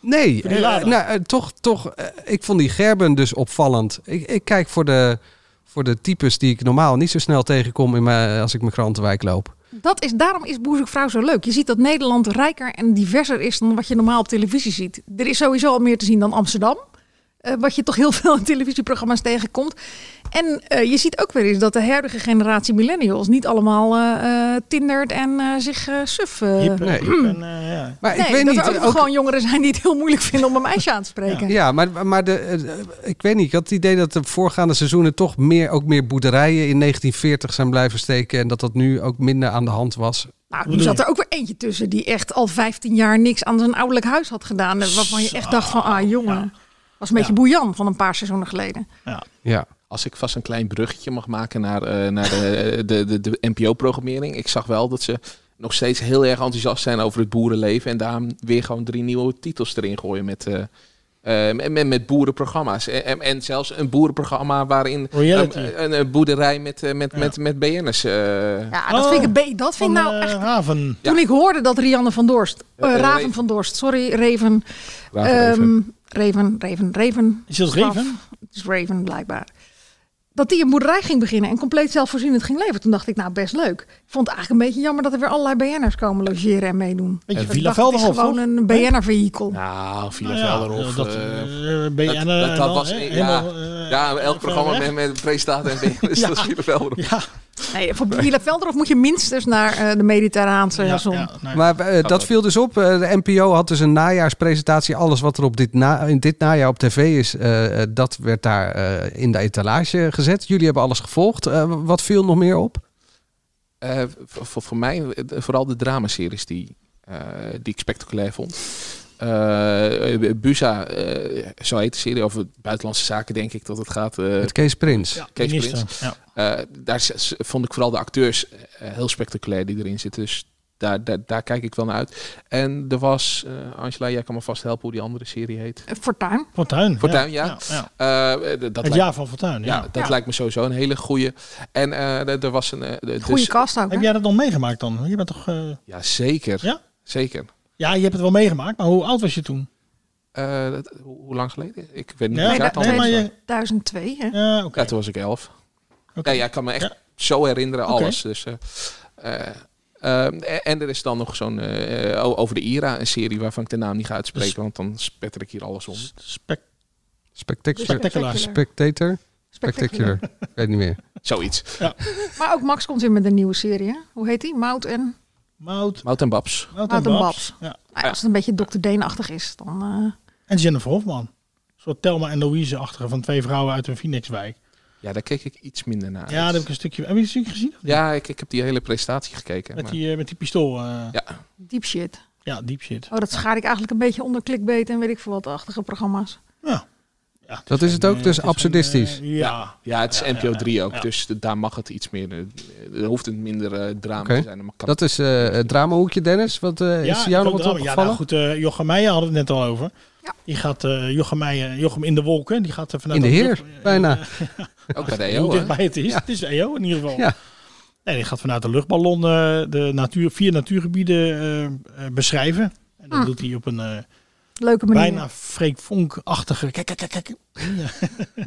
[SPEAKER 7] Nee,
[SPEAKER 13] die
[SPEAKER 7] eh,
[SPEAKER 13] Lada.
[SPEAKER 7] nou, eh, toch, toch eh, ik vond die Gerben dus opvallend. Ik, ik kijk voor de, voor de types die ik normaal niet zo snel tegenkom in mijn, als ik mijn krantenwijk loop.
[SPEAKER 9] Dat is, daarom is Boezekvrouw zo leuk. Je ziet dat Nederland rijker en diverser is dan wat je normaal op televisie ziet. Er is sowieso al meer te zien dan Amsterdam. eh, wat je toch heel veel in televisieprogramma's tegenkomt. En eh, je ziet ook weer eens dat de huidige generatie millennials niet allemaal eh, eh, tindert en eh, zich eh, suf. eh,
[SPEAKER 13] Hip,
[SPEAKER 7] nee.
[SPEAKER 13] hip en, eh, ja.
[SPEAKER 7] Maar
[SPEAKER 9] nee,
[SPEAKER 7] ik weet
[SPEAKER 9] dat
[SPEAKER 7] niet.
[SPEAKER 9] er ook,
[SPEAKER 7] eh,
[SPEAKER 9] nog gewoon jongeren zijn die het heel moeilijk vinden om een meisje aan te spreken.
[SPEAKER 7] Ja, maar, maar de, eh, ik weet niet. Ik had het idee dat de voorgaande seizoenen toch meer, ook meer boerderijen in 1940 zijn blijven steken. En dat dat nu ook minder aan de hand was.
[SPEAKER 9] Nou, nu
[SPEAKER 13] bedoel
[SPEAKER 9] zat
[SPEAKER 13] je?
[SPEAKER 9] er ook weer eentje tussen die echt al 15 jaar niks aan zijn ouderlijk huis had gedaan. eh, Waarvan je echt dacht van, ah jongen, was een beetje boeian van een paar seizoenen geleden.
[SPEAKER 7] Ja.
[SPEAKER 8] Als ik vast een klein bruggetje mag maken naar, eh, naar de, de, de, de NPO-programmering. Ik zag wel dat ze nog steeds heel erg enthousiast zijn over het boerenleven. En daarom weer gewoon drie nieuwe titels erin gooien met, eh, eh, met- met, met boerenprogramma's. En, en, en zelfs een boerenprogramma waarin
[SPEAKER 13] Reality.
[SPEAKER 8] eh, een, een boerderij met, eh, met, met, met BN'ers... eh,
[SPEAKER 9] Ja, dat vind ik een be- Dat vind ik
[SPEAKER 13] Van,
[SPEAKER 9] nou
[SPEAKER 13] eh,
[SPEAKER 9] echt...
[SPEAKER 13] Haven.
[SPEAKER 9] Toen ik hoorde dat Rianne van Dorst, eh,
[SPEAKER 8] Eh, eh,
[SPEAKER 9] Raven
[SPEAKER 8] Reven.
[SPEAKER 9] van Dorst, sorry, Raven,
[SPEAKER 8] Raven, Reven.
[SPEAKER 9] ehm, Raven, Raven, Raven,
[SPEAKER 13] Is dat
[SPEAKER 9] Graf.
[SPEAKER 13] Raven?
[SPEAKER 9] Het is Raven blijkbaar. Dat die een boerderij ging beginnen en compleet zelfvoorzienend ging leven. Toen dacht ik, nou best leuk. Ik vond het eigenlijk een beetje jammer dat er weer allerlei BN'ers komen logeren en meedoen.
[SPEAKER 13] Weet je,
[SPEAKER 9] Ik
[SPEAKER 13] Villa
[SPEAKER 9] dacht, het is
[SPEAKER 13] Velderhof,
[SPEAKER 9] gewoon
[SPEAKER 13] toch?
[SPEAKER 9] een BN'er-vehikel.
[SPEAKER 8] Nou, Villa
[SPEAKER 13] Nou
[SPEAKER 8] Velderhof,
[SPEAKER 13] dat,
[SPEAKER 8] eh,
[SPEAKER 13] eh, ben je
[SPEAKER 8] dat-
[SPEAKER 13] aan,
[SPEAKER 8] dat-
[SPEAKER 13] eh,
[SPEAKER 8] dat
[SPEAKER 13] dan,
[SPEAKER 8] was
[SPEAKER 13] hè,
[SPEAKER 8] een-
[SPEAKER 13] helemaal, eh,
[SPEAKER 8] ja, elk
[SPEAKER 13] even
[SPEAKER 8] programma
[SPEAKER 13] weg.
[SPEAKER 8] met, met presentator en BN'ers, dat is Villa Velderhof.
[SPEAKER 13] Ja,
[SPEAKER 9] Nee, voor Villa Velderhof moet je minstens naar eh, de Mediterraanse
[SPEAKER 13] ja,
[SPEAKER 9] zon.
[SPEAKER 13] ja, nee.
[SPEAKER 7] Maar eh, dat
[SPEAKER 8] Nou, dat.
[SPEAKER 7] viel dus op. Eh, de NPO had dus een najaarspresentatie. Alles wat er op dit na, in dit najaar op tv is, eh, eh, dat werd daar eh, in de etalage gezet. Jullie hebben alles gevolgd. Eh, wat viel nog meer op?
[SPEAKER 8] Eh, voor, voor- voor mij eh, vooral de dramaseries die, eh, die ik spectaculair vond. Eh Buza, eh, zo heet de serie over buitenlandse zaken, denk ik dat het gaat. eh,
[SPEAKER 7] Met Kees Prins.
[SPEAKER 13] Ja,
[SPEAKER 8] Kees
[SPEAKER 13] minister,
[SPEAKER 8] Prins.
[SPEAKER 13] ja.
[SPEAKER 8] eh, daar z- z- vond ik vooral de acteurs eh, heel spectaculair die erin zitten. Dus daar, daar, daar kijk ik wel naar uit. En er was, eh, Angela, jij kan me vast helpen hoe die andere serie heet.
[SPEAKER 9] Fortuin.
[SPEAKER 13] Dus Fortuin.
[SPEAKER 8] Fortuin, ja.
[SPEAKER 13] ja.
[SPEAKER 8] Eh, eh, d- dat
[SPEAKER 13] Het
[SPEAKER 8] lijkt-
[SPEAKER 13] jaar van Fortuin, ja.
[SPEAKER 8] ja, dat lijkt me sowieso een hele goede. En eh, d- er was een. eh, d-
[SPEAKER 9] Goeie
[SPEAKER 8] dus-
[SPEAKER 9] kast ook. hè?
[SPEAKER 13] Heb jij dat nog meegemaakt dan? Je bent toch... eh,
[SPEAKER 8] Ja, zeker.
[SPEAKER 13] Ja?
[SPEAKER 8] Zeker.
[SPEAKER 13] ja, je hebt het wel meegemaakt, maar hoe oud was je toen?
[SPEAKER 8] Eh, dat- hoe hoe lang geleden? Ik weet niet.
[SPEAKER 13] Ja,
[SPEAKER 8] het
[SPEAKER 9] Nee,
[SPEAKER 13] dat-
[SPEAKER 8] jaartal.
[SPEAKER 13] nee, maar je-
[SPEAKER 9] 2002, hè?
[SPEAKER 13] Ja, oké.
[SPEAKER 8] Ja, toen was ik elf.
[SPEAKER 13] Oké.
[SPEAKER 8] Nee, ja, ik kan me echt
[SPEAKER 13] Ja.
[SPEAKER 8] zo herinneren,
[SPEAKER 13] Oké.
[SPEAKER 8] alles. Dus, eh, eh, ehm, en, en er is dan nog zo'n eh, o- over de IRA, een serie waarvan ik de naam niet ga uitspreken, want dan spetter ik hier alles om.
[SPEAKER 13] Spek-
[SPEAKER 9] Dus
[SPEAKER 7] Spectacular.
[SPEAKER 13] Spectacular.
[SPEAKER 7] Spectator. Spectacular.
[SPEAKER 9] Spectacular.
[SPEAKER 7] Ik weet niet meer.
[SPEAKER 8] Zoiets.
[SPEAKER 9] Maar ook Max komt weer met een nieuwe serie. Hè? Hoe heet die? Mout en.
[SPEAKER 13] Mout,
[SPEAKER 8] Mout en Babs.
[SPEAKER 13] Mout en
[SPEAKER 9] Mout en
[SPEAKER 13] Babs.
[SPEAKER 9] Babs.
[SPEAKER 13] Ja.
[SPEAKER 9] Nou ja, als het een beetje Dr. Deen-achtig is, dan. eh,
[SPEAKER 13] En Jennifer Hofman. Een soort Thelma en Louise-achtige van twee vrouwen uit een Phoenixwijk.
[SPEAKER 8] Ja, daar keek ik iets minder naar.
[SPEAKER 13] Ja, daar heb ik een stukje... Heb je het stukje gezien?
[SPEAKER 8] Ja, ik, ik heb die hele presentatie gekeken.
[SPEAKER 13] Met
[SPEAKER 8] maar-
[SPEAKER 13] die, eh, met die pistool. eh,
[SPEAKER 8] Ja.
[SPEAKER 9] deep shit.
[SPEAKER 13] ja, diep shit.
[SPEAKER 9] Oh, dat schaar ik eigenlijk een beetje onder clickbait en weet ik veel wat achtige programma's.
[SPEAKER 13] Ja, het
[SPEAKER 7] Dat is het
[SPEAKER 13] een,
[SPEAKER 7] ook,
[SPEAKER 13] eh,
[SPEAKER 7] dus
[SPEAKER 13] het is een,
[SPEAKER 7] absurdistisch.
[SPEAKER 13] eh, ja.
[SPEAKER 8] Ja, het is
[SPEAKER 13] Ja,
[SPEAKER 8] NPO 3 ook,
[SPEAKER 13] ja.
[SPEAKER 8] dus de- daar mag het iets meer. eh, Er hoeft het minder eh, drama
[SPEAKER 7] Oké.
[SPEAKER 8] te zijn. Maar kan
[SPEAKER 7] Dat is eh het dramahoekje, Dennis. Wat eh, is jou nog
[SPEAKER 13] ook
[SPEAKER 7] wat
[SPEAKER 13] drama. Ja, nou
[SPEAKER 7] opgevallen?
[SPEAKER 13] goed, eh Jochem Meijer hadden we het net al over.
[SPEAKER 9] Ja.
[SPEAKER 13] Die gaat, eh, Jochem, Meijer, Jochem in de wolken, die gaat er vanuit...
[SPEAKER 7] In de
[SPEAKER 13] dat-
[SPEAKER 7] heer, bijna.
[SPEAKER 8] ook bij de
[SPEAKER 13] Hoe
[SPEAKER 7] E
[SPEAKER 8] EO, hè?
[SPEAKER 13] dichtbij het is. Het is EO in ieder geval.
[SPEAKER 7] Ja.
[SPEAKER 13] Nee, die gaat vanuit de luchtballon eh, de natuur, vier natuurgebieden eh, eh, beschrijven. En
[SPEAKER 9] Ah.
[SPEAKER 13] dat doet hij op een eh,
[SPEAKER 9] Leuke manier.
[SPEAKER 13] bijna Freek Vonk-achtige... Kijk, kijk, kijk, kijk.
[SPEAKER 9] Ja,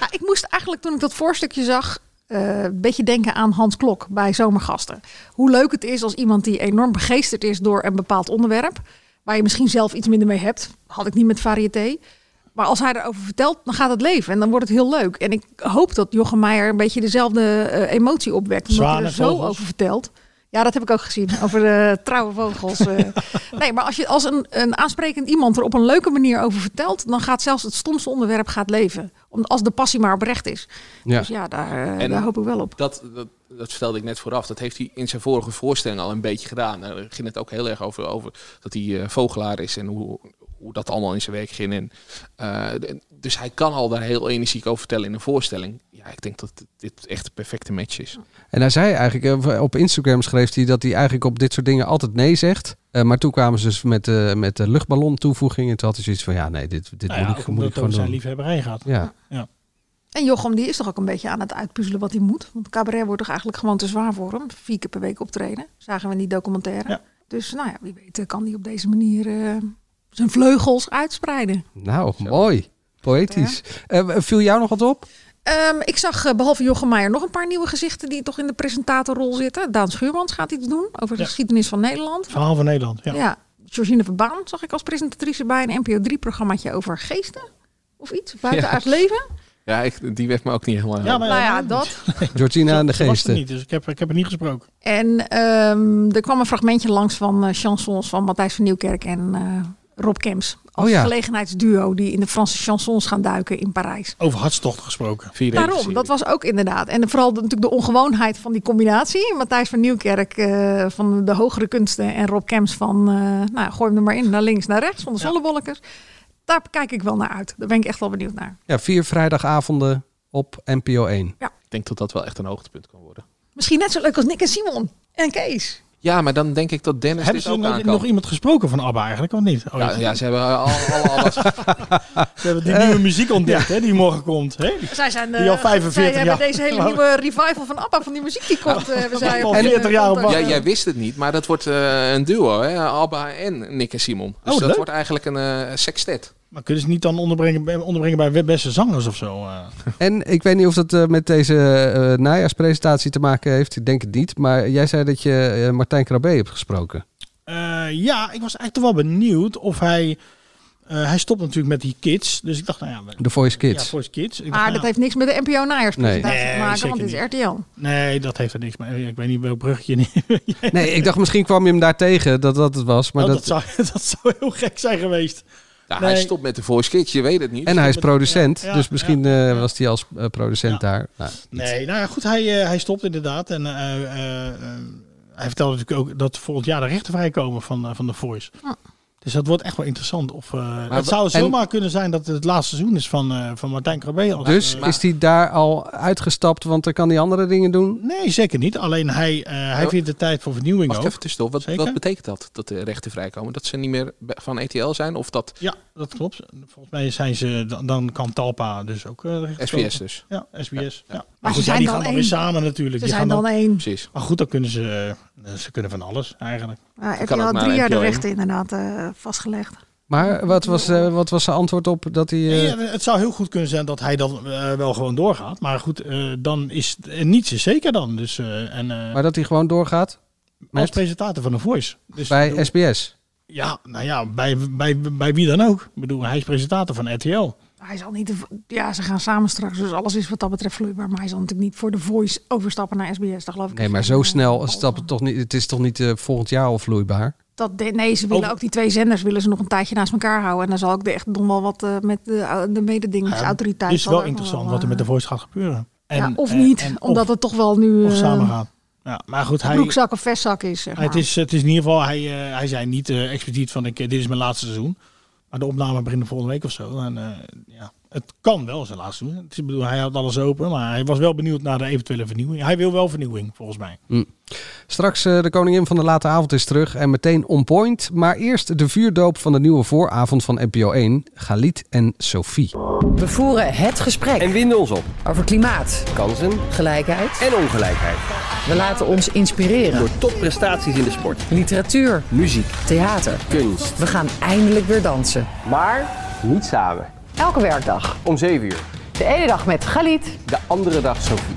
[SPEAKER 9] Ah, ik moest eigenlijk toen ik dat voorstukje zag. eh, een beetje denken aan Hans Klok bij Zomergasten. Hoe leuk het is als iemand die enorm begeesterd is door een bepaald onderwerp. Waar je misschien zelf iets minder mee hebt. Had ik niet met variété. Maar als hij erover vertelt, dan gaat het leven. En dan wordt het heel leuk. En ik hoop dat Jochem Meijer een beetje dezelfde eh, emotie opwekt. Omdat hij er
[SPEAKER 13] Zwanen,
[SPEAKER 9] zo
[SPEAKER 13] vogels.
[SPEAKER 9] over vertelt. Ja, dat heb ik ook gezien over de trouwe vogels. eh. nee, maar als, je, als een, een aansprekend iemand er op een leuke manier over vertelt, dan gaat zelfs het stomste onderwerp gaat leven. Om, als de passie maar oprecht is.
[SPEAKER 7] Ja.
[SPEAKER 9] Dus ja, daar, eh,
[SPEAKER 8] En
[SPEAKER 9] daar hoop ik wel op.
[SPEAKER 8] Dat, dat, dat vertelde ik net vooraf. Dat heeft hij in zijn vorige voorstelling al een beetje gedaan. Daar ging het ook heel erg over, over dat hij eh, vogelaar is en hoe, hoe dat allemaal in zijn werk ging. En, eh, d- dus hij kan al daar heel energiek over vertellen in een voorstelling. Ja, ik denk dat dit echt de perfecte match is.
[SPEAKER 7] En hij zei eigenlijk, eh, op Instagram schreef hij dat hij eigenlijk op dit soort dingen altijd nee zegt. Eh, maar toen kwamen ze dus met, eh met de luchtballon toevoeging. En toen had hij zoiets van, ja nee, dit, dit
[SPEAKER 13] Nou ja,
[SPEAKER 7] moet ik,
[SPEAKER 13] ook
[SPEAKER 7] moet
[SPEAKER 13] omdat
[SPEAKER 7] ik
[SPEAKER 13] het
[SPEAKER 7] gewoon
[SPEAKER 13] over zijn
[SPEAKER 7] doen.
[SPEAKER 13] liefhebberij gaat.
[SPEAKER 7] Ja.
[SPEAKER 9] En Jochem die is toch ook een beetje aan het uitpuzzelen wat hij moet. Want cabaret wordt toch eigenlijk gewoon te zwaar voor hem. Vier keer per week optreden. Zagen we in die documentaire.
[SPEAKER 13] Ja.
[SPEAKER 9] Dus nou ja, wie weet eh, kan hij op deze manier eh, zijn vleugels uitspreiden.
[SPEAKER 7] Nou, mooi. Poëtisch. Eh, viel jou nog wat op?
[SPEAKER 9] Ehm, ik zag eh, behalve Jochem Meijer nog een paar nieuwe gezichten die toch in de presentatorrol zitten. Daan Schuurmans gaat iets doen over de
[SPEAKER 13] Ja.
[SPEAKER 9] geschiedenis van Nederland.
[SPEAKER 13] Verhaal van Nederland. Ja.
[SPEAKER 9] Ja. Georgine Verbaan zag ik als presentatrice bij een NPO 3-programmaatje over geesten. Of iets, buitenaard leven.
[SPEAKER 8] Ja, ik, die werd me ook niet helemaal...
[SPEAKER 13] Ja, maar-
[SPEAKER 9] Nou ja, dat.
[SPEAKER 7] Georgina en de
[SPEAKER 13] Ze was er
[SPEAKER 7] geesten.
[SPEAKER 13] niet, dus ik heb, ik heb er niet gesproken.
[SPEAKER 9] En ehm, er kwam een fragmentje langs van eh, chansons van Matthijs van Nieuwkerk en eh, Rob Kems. Als
[SPEAKER 7] Oh ja.
[SPEAKER 9] gelegenheidsduo die in de Franse chansons gaan duiken in Parijs.
[SPEAKER 13] Over hartstocht gesproken.
[SPEAKER 8] Vier
[SPEAKER 9] Daarom,
[SPEAKER 8] regisseurs.
[SPEAKER 9] dat was ook inderdaad. En vooral de- natuurlijk de ongewoonheid van die combinatie. Matthijs van Nieuwkerk eh, van de hogere kunsten en Rob Kems van... eh, nou, gooi hem er maar in, naar links, naar rechts, van de zollebolkers. Daar kijk ik wel naar uit. Daar ben ik echt wel benieuwd naar.
[SPEAKER 7] Ja, vier vrijdagavonden op NPO 1.
[SPEAKER 8] Ik denk dat dat wel echt een hoogtepunt kan worden.
[SPEAKER 9] Misschien net zo leuk als Nick en Simon en Kees.
[SPEAKER 8] Ja, maar dan denk ik dat Dennis
[SPEAKER 13] Hebben
[SPEAKER 8] dit
[SPEAKER 13] ze
[SPEAKER 8] ook aan
[SPEAKER 13] nog,
[SPEAKER 8] kan.
[SPEAKER 13] nog iemand gesproken van ABBA eigenlijk, of niet? Oh,
[SPEAKER 8] ja, ja, ze hebben al, alle alles.
[SPEAKER 13] Ze hebben die
[SPEAKER 7] Eh,
[SPEAKER 13] nieuwe muziek ontdekt, hè, die morgen komt. Hè? Die-
[SPEAKER 9] Zij zijn eh,
[SPEAKER 13] Die al 45
[SPEAKER 9] zij hebben
[SPEAKER 13] jaar.
[SPEAKER 9] deze hele nieuwe revival van ABBA, van die muziek die komt. eh, hebben zij
[SPEAKER 13] al 40 jaar op wacht.
[SPEAKER 8] Ja, jij wist het niet, maar dat wordt eh, een duo, hè? Alba en Nick en Simon. Dus
[SPEAKER 13] Oh,
[SPEAKER 8] dat
[SPEAKER 13] leuk.
[SPEAKER 8] wordt eigenlijk een eh sextet.
[SPEAKER 13] Maar kunnen ze niet dan onderbrengen, bij- onderbrengen bij we- beste zangers of zo? eh?
[SPEAKER 7] En ik weet niet of dat eh, met deze eh, najaarspresentatie te maken heeft. Ik denk het niet. Maar jij zei dat je eh, Martijn Krabbe hebt gesproken.
[SPEAKER 13] Eh, ja, ik was eigenlijk toch wel benieuwd of hij... eh, hij stopt natuurlijk met die kids, dus ik dacht, nou ja... we-
[SPEAKER 7] The Voice Kids.
[SPEAKER 13] Ja, Voice Kids. Ik dacht,
[SPEAKER 9] Maar
[SPEAKER 13] nou,
[SPEAKER 9] Ah, dat heeft niks met de NPO najaarspresentatie
[SPEAKER 13] Nee.
[SPEAKER 9] te
[SPEAKER 13] Nee,
[SPEAKER 9] maken,
[SPEAKER 13] zeker
[SPEAKER 9] want het is
[SPEAKER 13] niet.
[SPEAKER 9] RTL.
[SPEAKER 13] Nee, dat heeft er niks mee. Ik weet niet welk bruggetje. Nee,
[SPEAKER 7] Nee, ik dacht misschien kwam je hem daar tegen dat dat het was. Maar
[SPEAKER 13] Oh, dat,
[SPEAKER 7] dat...
[SPEAKER 13] zou, dat zou heel gek zijn geweest.
[SPEAKER 8] Ja,
[SPEAKER 13] Nee.
[SPEAKER 8] Hij stopt met de Voice Kids, je weet het niet.
[SPEAKER 7] En hij is
[SPEAKER 13] met-
[SPEAKER 7] producent,
[SPEAKER 13] ja, ja,
[SPEAKER 7] dus misschien
[SPEAKER 13] ja,
[SPEAKER 7] eh,
[SPEAKER 13] ja.
[SPEAKER 7] was hij als eh, producent
[SPEAKER 13] Ja.
[SPEAKER 7] daar. Nou, niet.
[SPEAKER 13] Nee, nou ja, goed, hij, eh, hij stopt inderdaad. En eh, eh, eh, hij vertelde natuurlijk ook dat volgend jaar de rechten vrijkomen van, eh, van de Voice. Dus dat wordt echt wel interessant. Of, eh, het
[SPEAKER 8] wa-
[SPEAKER 13] zou
[SPEAKER 7] en-
[SPEAKER 13] zomaar kunnen zijn dat het het laatste seizoen is van, eh, van Martijn Krabbe. als,
[SPEAKER 7] Dus
[SPEAKER 13] eh,
[SPEAKER 7] is hij daar al uitgestapt, want dan kan hij andere dingen doen?
[SPEAKER 13] nee, zeker niet. Alleen hij, eh, hij
[SPEAKER 8] Ja.
[SPEAKER 13] vindt de tijd voor vernieuwing
[SPEAKER 8] Mag ik
[SPEAKER 13] ook.
[SPEAKER 8] even tussendoor? Wat,
[SPEAKER 13] Nou, Zeker.
[SPEAKER 8] wat betekent dat, dat de rechten vrijkomen? Dat ze niet meer be- van ETL zijn of dat
[SPEAKER 13] Ja, dat klopt. Volgens mij zijn ze, dan, dan kan Talpa dus ook... eh, recht-
[SPEAKER 8] SBS dus?
[SPEAKER 13] Ja, SBS. Ja.
[SPEAKER 9] Maar
[SPEAKER 13] Maar goed,
[SPEAKER 9] ze
[SPEAKER 13] ja,
[SPEAKER 9] zijn
[SPEAKER 13] die gaan
[SPEAKER 9] dan
[SPEAKER 13] dan
[SPEAKER 9] één.
[SPEAKER 13] weer samen natuurlijk.
[SPEAKER 9] Ze
[SPEAKER 13] Die
[SPEAKER 9] zijn
[SPEAKER 13] gaan
[SPEAKER 9] dan
[SPEAKER 13] dan...
[SPEAKER 9] één.
[SPEAKER 8] Precies.
[SPEAKER 13] Maar goed, dan kunnen ze... eh, Ze kunnen van alles eigenlijk.
[SPEAKER 9] Ja,
[SPEAKER 8] kan ook
[SPEAKER 9] RTL had
[SPEAKER 8] naar
[SPEAKER 9] drie jaar de
[SPEAKER 8] NPO één.
[SPEAKER 9] rechten inderdaad eh, vastgelegd.
[SPEAKER 7] Maar wat was, eh, wat was zijn antwoord op dat hij... eh,
[SPEAKER 13] Ja, het zou heel goed kunnen zijn dat hij dan eh, wel gewoon doorgaat. Maar goed, eh, dan is en niets is zeker dan. Dus, eh, en, eh,
[SPEAKER 7] Maar dat hij gewoon doorgaat
[SPEAKER 13] als
[SPEAKER 7] met,
[SPEAKER 13] presentator van een Voice. Dus, ik
[SPEAKER 7] bij
[SPEAKER 13] bedoel,
[SPEAKER 7] SBS.
[SPEAKER 13] ja, nou ja, bij, bij, bij wie dan ook. Ik bedoel, hij is presentator van RTL.
[SPEAKER 9] Hij zal niet... de- Ja, ze gaan samen straks, dus alles is wat dat betreft vloeibaar. Maar hij zal natuurlijk niet voor de Voice overstappen naar SBS, dat geloof ik.
[SPEAKER 7] Nee,
[SPEAKER 9] echt
[SPEAKER 7] maar
[SPEAKER 9] niet.
[SPEAKER 7] zo snel stapt het toch niet. Het is toch niet eh, volgend jaar al vloeibaar?
[SPEAKER 9] Dat, de- nee, ze willen
[SPEAKER 13] Over-
[SPEAKER 9] ook die twee zenders willen ze nog een tijdje naast elkaar houden. En dan zal ook de, echt nog wel wat eh, met de, de mededingingsautoriteit...
[SPEAKER 13] Het is
[SPEAKER 9] zal er
[SPEAKER 13] wel
[SPEAKER 9] ook nog
[SPEAKER 13] interessant
[SPEAKER 9] wel,
[SPEAKER 13] wat er met de
[SPEAKER 9] eh,
[SPEAKER 13] Voice gaat gebeuren. En,
[SPEAKER 9] ja, of
[SPEAKER 13] en-
[SPEAKER 9] niet,
[SPEAKER 13] en of-
[SPEAKER 9] omdat het toch wel nu
[SPEAKER 13] Of,
[SPEAKER 9] eh,
[SPEAKER 13] samen gaat. Ja, maar goed, hij,
[SPEAKER 9] broekzak of vestzak is, zeg
[SPEAKER 13] hij- het
[SPEAKER 9] maar.
[SPEAKER 13] is, het is in ieder geval... Hij, eh, hij zei niet eh, expliciet van, ik, eh, dit is mijn laatste seizoen. Maar de opname begint de volgende week of zo. En, eh, ja, het kan wel zijn laatste seizoen. Ik bedoel, hij had alles open, maar hij was wel benieuwd naar de eventuele vernieuwing. Hij wil wel vernieuwing, volgens mij.
[SPEAKER 7] Straks eh, de koningin van de late avond is terug en meteen on point. Maar eerst de vuurdoop van de nieuwe vooravond van NPO 1. Galit en Sophie.
[SPEAKER 4] We voeren het gesprek
[SPEAKER 10] En winden ons op.
[SPEAKER 4] over klimaat,
[SPEAKER 10] Kansen
[SPEAKER 4] gelijkheid.
[SPEAKER 10] en ongelijkheid.
[SPEAKER 4] We laten ons inspireren.
[SPEAKER 10] Door topprestaties in de sport,
[SPEAKER 4] Literatuur,
[SPEAKER 10] muziek,
[SPEAKER 4] theater.
[SPEAKER 10] kunst.
[SPEAKER 4] We gaan eindelijk weer dansen.
[SPEAKER 10] Maar niet samen.
[SPEAKER 4] Elke werkdag.
[SPEAKER 10] Om 7 uur.
[SPEAKER 4] De ene dag met Galit.
[SPEAKER 10] De andere dag Sophie.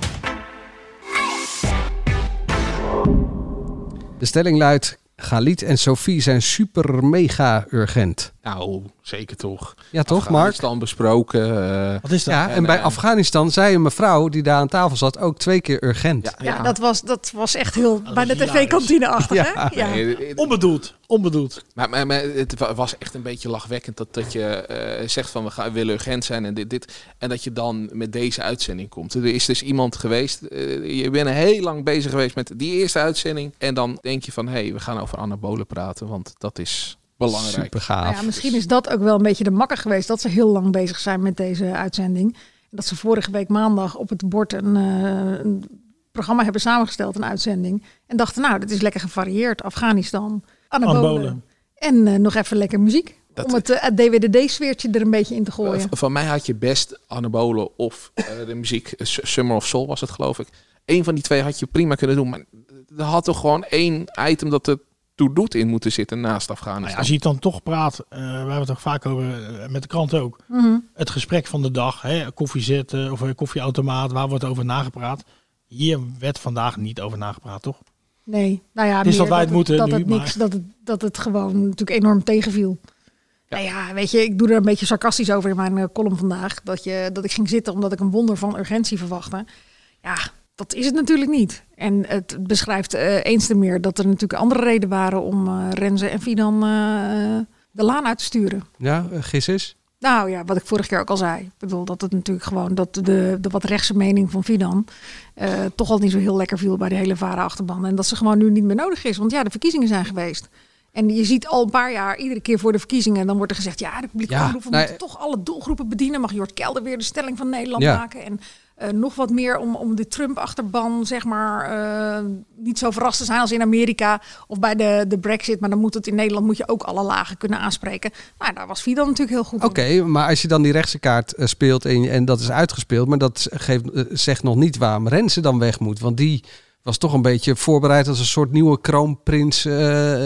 [SPEAKER 7] De stelling luidt: Galit en Sophie zijn super mega urgent.
[SPEAKER 8] Nou, zeker toch.
[SPEAKER 7] Ja, toch, Mark?
[SPEAKER 8] Afghanistan besproken. eh,
[SPEAKER 13] Wat is dat?
[SPEAKER 7] Ja, en bij
[SPEAKER 8] eh,
[SPEAKER 7] Afghanistan zei een mevrouw die daar aan tafel zat ook twee keer urgent.
[SPEAKER 9] Ja, dat was, dat was echt heel bij de tv-kantine achter.
[SPEAKER 7] Ja.
[SPEAKER 9] Hè? Ja.
[SPEAKER 13] eh,
[SPEAKER 8] nee, het-
[SPEAKER 13] Onbedoeld. Onbedoeld.
[SPEAKER 8] Maar, maar, maar het wa- was echt een beetje lachwekkend dat, dat je eh, zegt van we gaan, willen urgent zijn en dit, dit. En dat je dan met deze uitzending komt. Er is dus iemand geweest, eh, je bent heel lang bezig geweest met die eerste uitzending. En dan denk je van hé, hey, we gaan over anabolen praten, want dat is belangrijk.
[SPEAKER 7] Super gaaf.
[SPEAKER 9] Nou ja, misschien is dat ook wel een beetje de makker geweest dat ze heel lang bezig zijn met deze uitzending. Dat ze vorige week maandag op het bord een, eh, een programma hebben samengesteld, een uitzending. En dachten, nou, dit is lekker gevarieerd. Afghanistan, anabolen.
[SPEAKER 13] Anabolen.
[SPEAKER 9] En eh, nog even lekker muziek. om het, eh, het DWDD-sfeertje er een beetje in te gooien.
[SPEAKER 8] V- Van mij had je best anabolen of eh, de muziek eh, S- Summer of Soul was het geloof ik. Eén van die twee had je prima kunnen doen. Maar er had toch gewoon één item dat er toe doet in moeten zitten naast
[SPEAKER 13] Nou ja,
[SPEAKER 8] Afghanistan.
[SPEAKER 13] als je het dan toch praat, eh, we hebben het ook vaak over, eh, met de krant ook.
[SPEAKER 9] Mhm.
[SPEAKER 13] Het gesprek van de dag, hè, koffie zetten of een koffieautomaat, waar wordt over nagepraat? Hier werd vandaag niet over nagepraat, toch?
[SPEAKER 9] Nee, nou ja,
[SPEAKER 13] Het is
[SPEAKER 9] meer
[SPEAKER 13] dat wij het moeten
[SPEAKER 9] dat
[SPEAKER 13] nu,
[SPEAKER 9] het
[SPEAKER 13] maar-
[SPEAKER 9] niks, dat het, dat het gewoon natuurlijk enorm tegenviel. Nou ja, weet je, ik doe er een beetje sarcastisch over in mijn eh, column vandaag. Dat, je, dat ik ging zitten omdat ik een wonder van urgentie verwachtte. Ja, dat is het natuurlijk niet. En het beschrijft eh, eens te meer dat er natuurlijk andere redenen waren om eh Renze en Fidan eh, de laan uit te sturen.
[SPEAKER 7] Ja, eh, gis is.
[SPEAKER 9] Nou ja, wat ik vorige keer ook al zei. Ik bedoel dat het natuurlijk gewoon dat de, de wat rechtse mening van Fidan eh, toch al niet zo heel lekker viel bij de hele varen achterban. En dat ze gewoon nu niet meer nodig is. Want ja, de verkiezingen zijn geweest. En je ziet al een paar jaar, iedere keer voor de verkiezingen, dan wordt er gezegd: ja, de publieke
[SPEAKER 7] Ja,
[SPEAKER 9] omroep we
[SPEAKER 7] nou,
[SPEAKER 9] moeten toch alle doelgroepen bedienen. Mag Jort Kelder weer de stelling van Nederland
[SPEAKER 7] Ja.
[SPEAKER 9] maken? En eh, nog wat meer om, om de Trump-achterban, zeg maar, eh, niet zo verrast te zijn als in Amerika of bij de, de Brexit. Maar dan moet het in Nederland moet je ook alle lagen kunnen aanspreken. Nou, daar was Fidan natuurlijk heel goed
[SPEAKER 7] Oké,
[SPEAKER 9] in.
[SPEAKER 7] maar als je dan die rechtse kaart eh, speelt en, en dat is uitgespeeld, maar dat geeft, eh, zegt nog niet waarom Rensen dan weg moet. Want die was toch een beetje voorbereid als een soort nieuwe kroonprins. eh,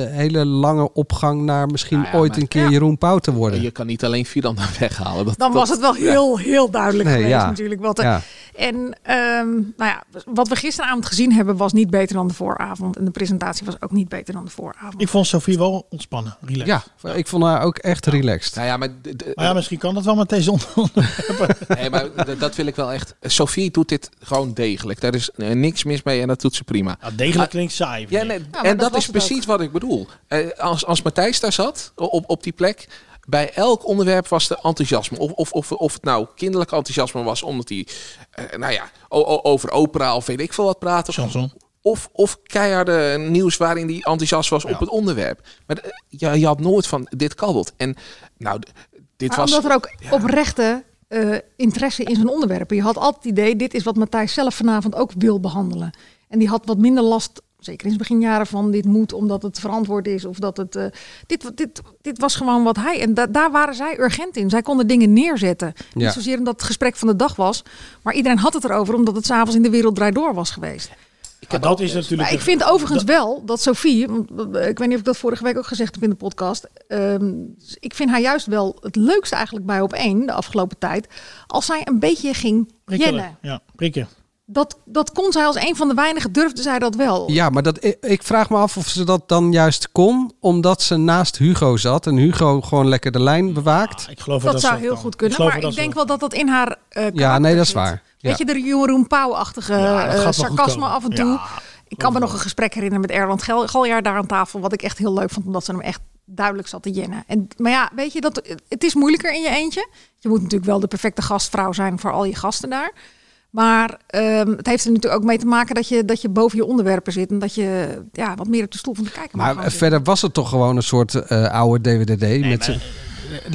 [SPEAKER 7] hele lange opgang naar misschien
[SPEAKER 8] Nou ja,
[SPEAKER 7] ooit
[SPEAKER 8] maar-
[SPEAKER 7] een keer
[SPEAKER 9] Ja.
[SPEAKER 7] Jeroen Pauw te worden.
[SPEAKER 8] Je kan niet alleen Fidan daar weghalen. Dat,
[SPEAKER 9] Dan
[SPEAKER 8] dat-
[SPEAKER 9] was het wel
[SPEAKER 8] ja.
[SPEAKER 9] heel, heel duidelijk
[SPEAKER 7] Nee,
[SPEAKER 9] geweest
[SPEAKER 7] ja.
[SPEAKER 9] natuurlijk. Wat er-
[SPEAKER 7] Ja.
[SPEAKER 9] En ehm, nou ja, wat we gisteravond gezien hebben was niet beter dan de vooravond. En de presentatie was ook niet beter dan de vooravond.
[SPEAKER 13] Ik vond Sofie wel ontspannen, relaxed.
[SPEAKER 7] Ja, ik vond haar ook echt relaxed.
[SPEAKER 8] Nou ja, maar, d- d-
[SPEAKER 13] Maar Oh ja, misschien kan dat wel met deze onder.
[SPEAKER 8] nee, maar d- dat wil ik wel echt. Sophie doet dit gewoon degelijk. Daar is eh, niks mis mee en dat doet ze prima.
[SPEAKER 13] Ja, degelijk klinkt saai.
[SPEAKER 8] Ja, nee, en
[SPEAKER 9] dat
[SPEAKER 8] dat,
[SPEAKER 9] was
[SPEAKER 8] is
[SPEAKER 9] het ook.
[SPEAKER 8] precies wat ik bedoel. Eh, als, als Matthijs daar zat, op, op die plek, bij elk onderwerp was er enthousiasme. Of, of, of, of het nou kinderlijk enthousiasme was, omdat hij eh, nou ja, o- o- over opera of weet ik veel wat praatte.
[SPEAKER 13] Chanson.
[SPEAKER 8] Of, of keiharde nieuws waarin hij enthousiast was op het onderwerp. Maar eh, ja, je had nooit van dit kabbelt. En nou, d- dit
[SPEAKER 9] Maar
[SPEAKER 8] was...
[SPEAKER 9] omdat er ook oprechte eh, interesse in zijn onderwerpen. Je had altijd het idee, dit is wat Matthijs zelf vanavond ook wil behandelen. En die had wat minder last, zeker in zijn beginjaren, van dit moet omdat het verantwoord is. Of dat het, eh, dit, dit, dit was gewoon wat hij... En da- daar waren zij urgent in. Zij konden dingen neerzetten.
[SPEAKER 7] Ja.
[SPEAKER 9] Niet zozeer omdat het gesprek van de dag was. Maar iedereen had het erover omdat het s'avonds in de wereld draait door was geweest.
[SPEAKER 13] Maar dat is natuurlijk...
[SPEAKER 9] Maar ik vind overigens wel dat Sofie, want, eh, ik weet niet of ik dat vorige week ook gezegd heb in de podcast. ehm, ik vind haar juist wel het leukste eigenlijk bij op één de afgelopen tijd. Als zij een beetje ging
[SPEAKER 13] prikkelen.
[SPEAKER 9] jennen.
[SPEAKER 13] Ja, prikken.
[SPEAKER 9] Dat, dat kon zij als een van de weinigen durfde zij dat wel.
[SPEAKER 7] Ja, maar dat, ik- ik vraag me af of ze dat dan juist kon, omdat ze naast Hugo zat en Hugo gewoon lekker de lijn bewaakt.
[SPEAKER 13] Ah, ik geloof wel
[SPEAKER 9] dat zou
[SPEAKER 13] ze
[SPEAKER 9] heel
[SPEAKER 13] kan.
[SPEAKER 9] goed kunnen.
[SPEAKER 13] geloof
[SPEAKER 9] maar
[SPEAKER 13] wel
[SPEAKER 9] ik
[SPEAKER 13] dat
[SPEAKER 9] denk
[SPEAKER 13] ze-
[SPEAKER 9] wel dat dat in haar. eh
[SPEAKER 7] Ja,
[SPEAKER 9] karakter
[SPEAKER 7] nee, dat is
[SPEAKER 9] zit.
[SPEAKER 7] waar. Ja.
[SPEAKER 9] Weet je, de Jeroen Pauw-achtige
[SPEAKER 13] Ja, dat gaat
[SPEAKER 9] eh,
[SPEAKER 13] wel goed
[SPEAKER 9] sarcasme
[SPEAKER 13] komen.
[SPEAKER 9] af en toe.
[SPEAKER 13] Ja,
[SPEAKER 9] ik kan me nog een gesprek herinneren met Erland Gal- Galjaar daar aan tafel. Wat ik echt heel leuk vond, omdat ze hem echt duidelijk zat te jennen. En, maar ja, weet je, dat, het is moeilijker in je eentje. Je moet natuurlijk wel de perfecte gastvrouw zijn voor al je gasten daar. Maar ehm, het heeft er natuurlijk ook mee te maken dat je, dat je boven je onderwerpen zit. En dat je ja, wat meer op de stoel van de kijker mag
[SPEAKER 7] Maar
[SPEAKER 9] gaan
[SPEAKER 7] eh,
[SPEAKER 9] zitten.
[SPEAKER 7] verder was het toch gewoon een soort eh, oude DWDD. met z'n-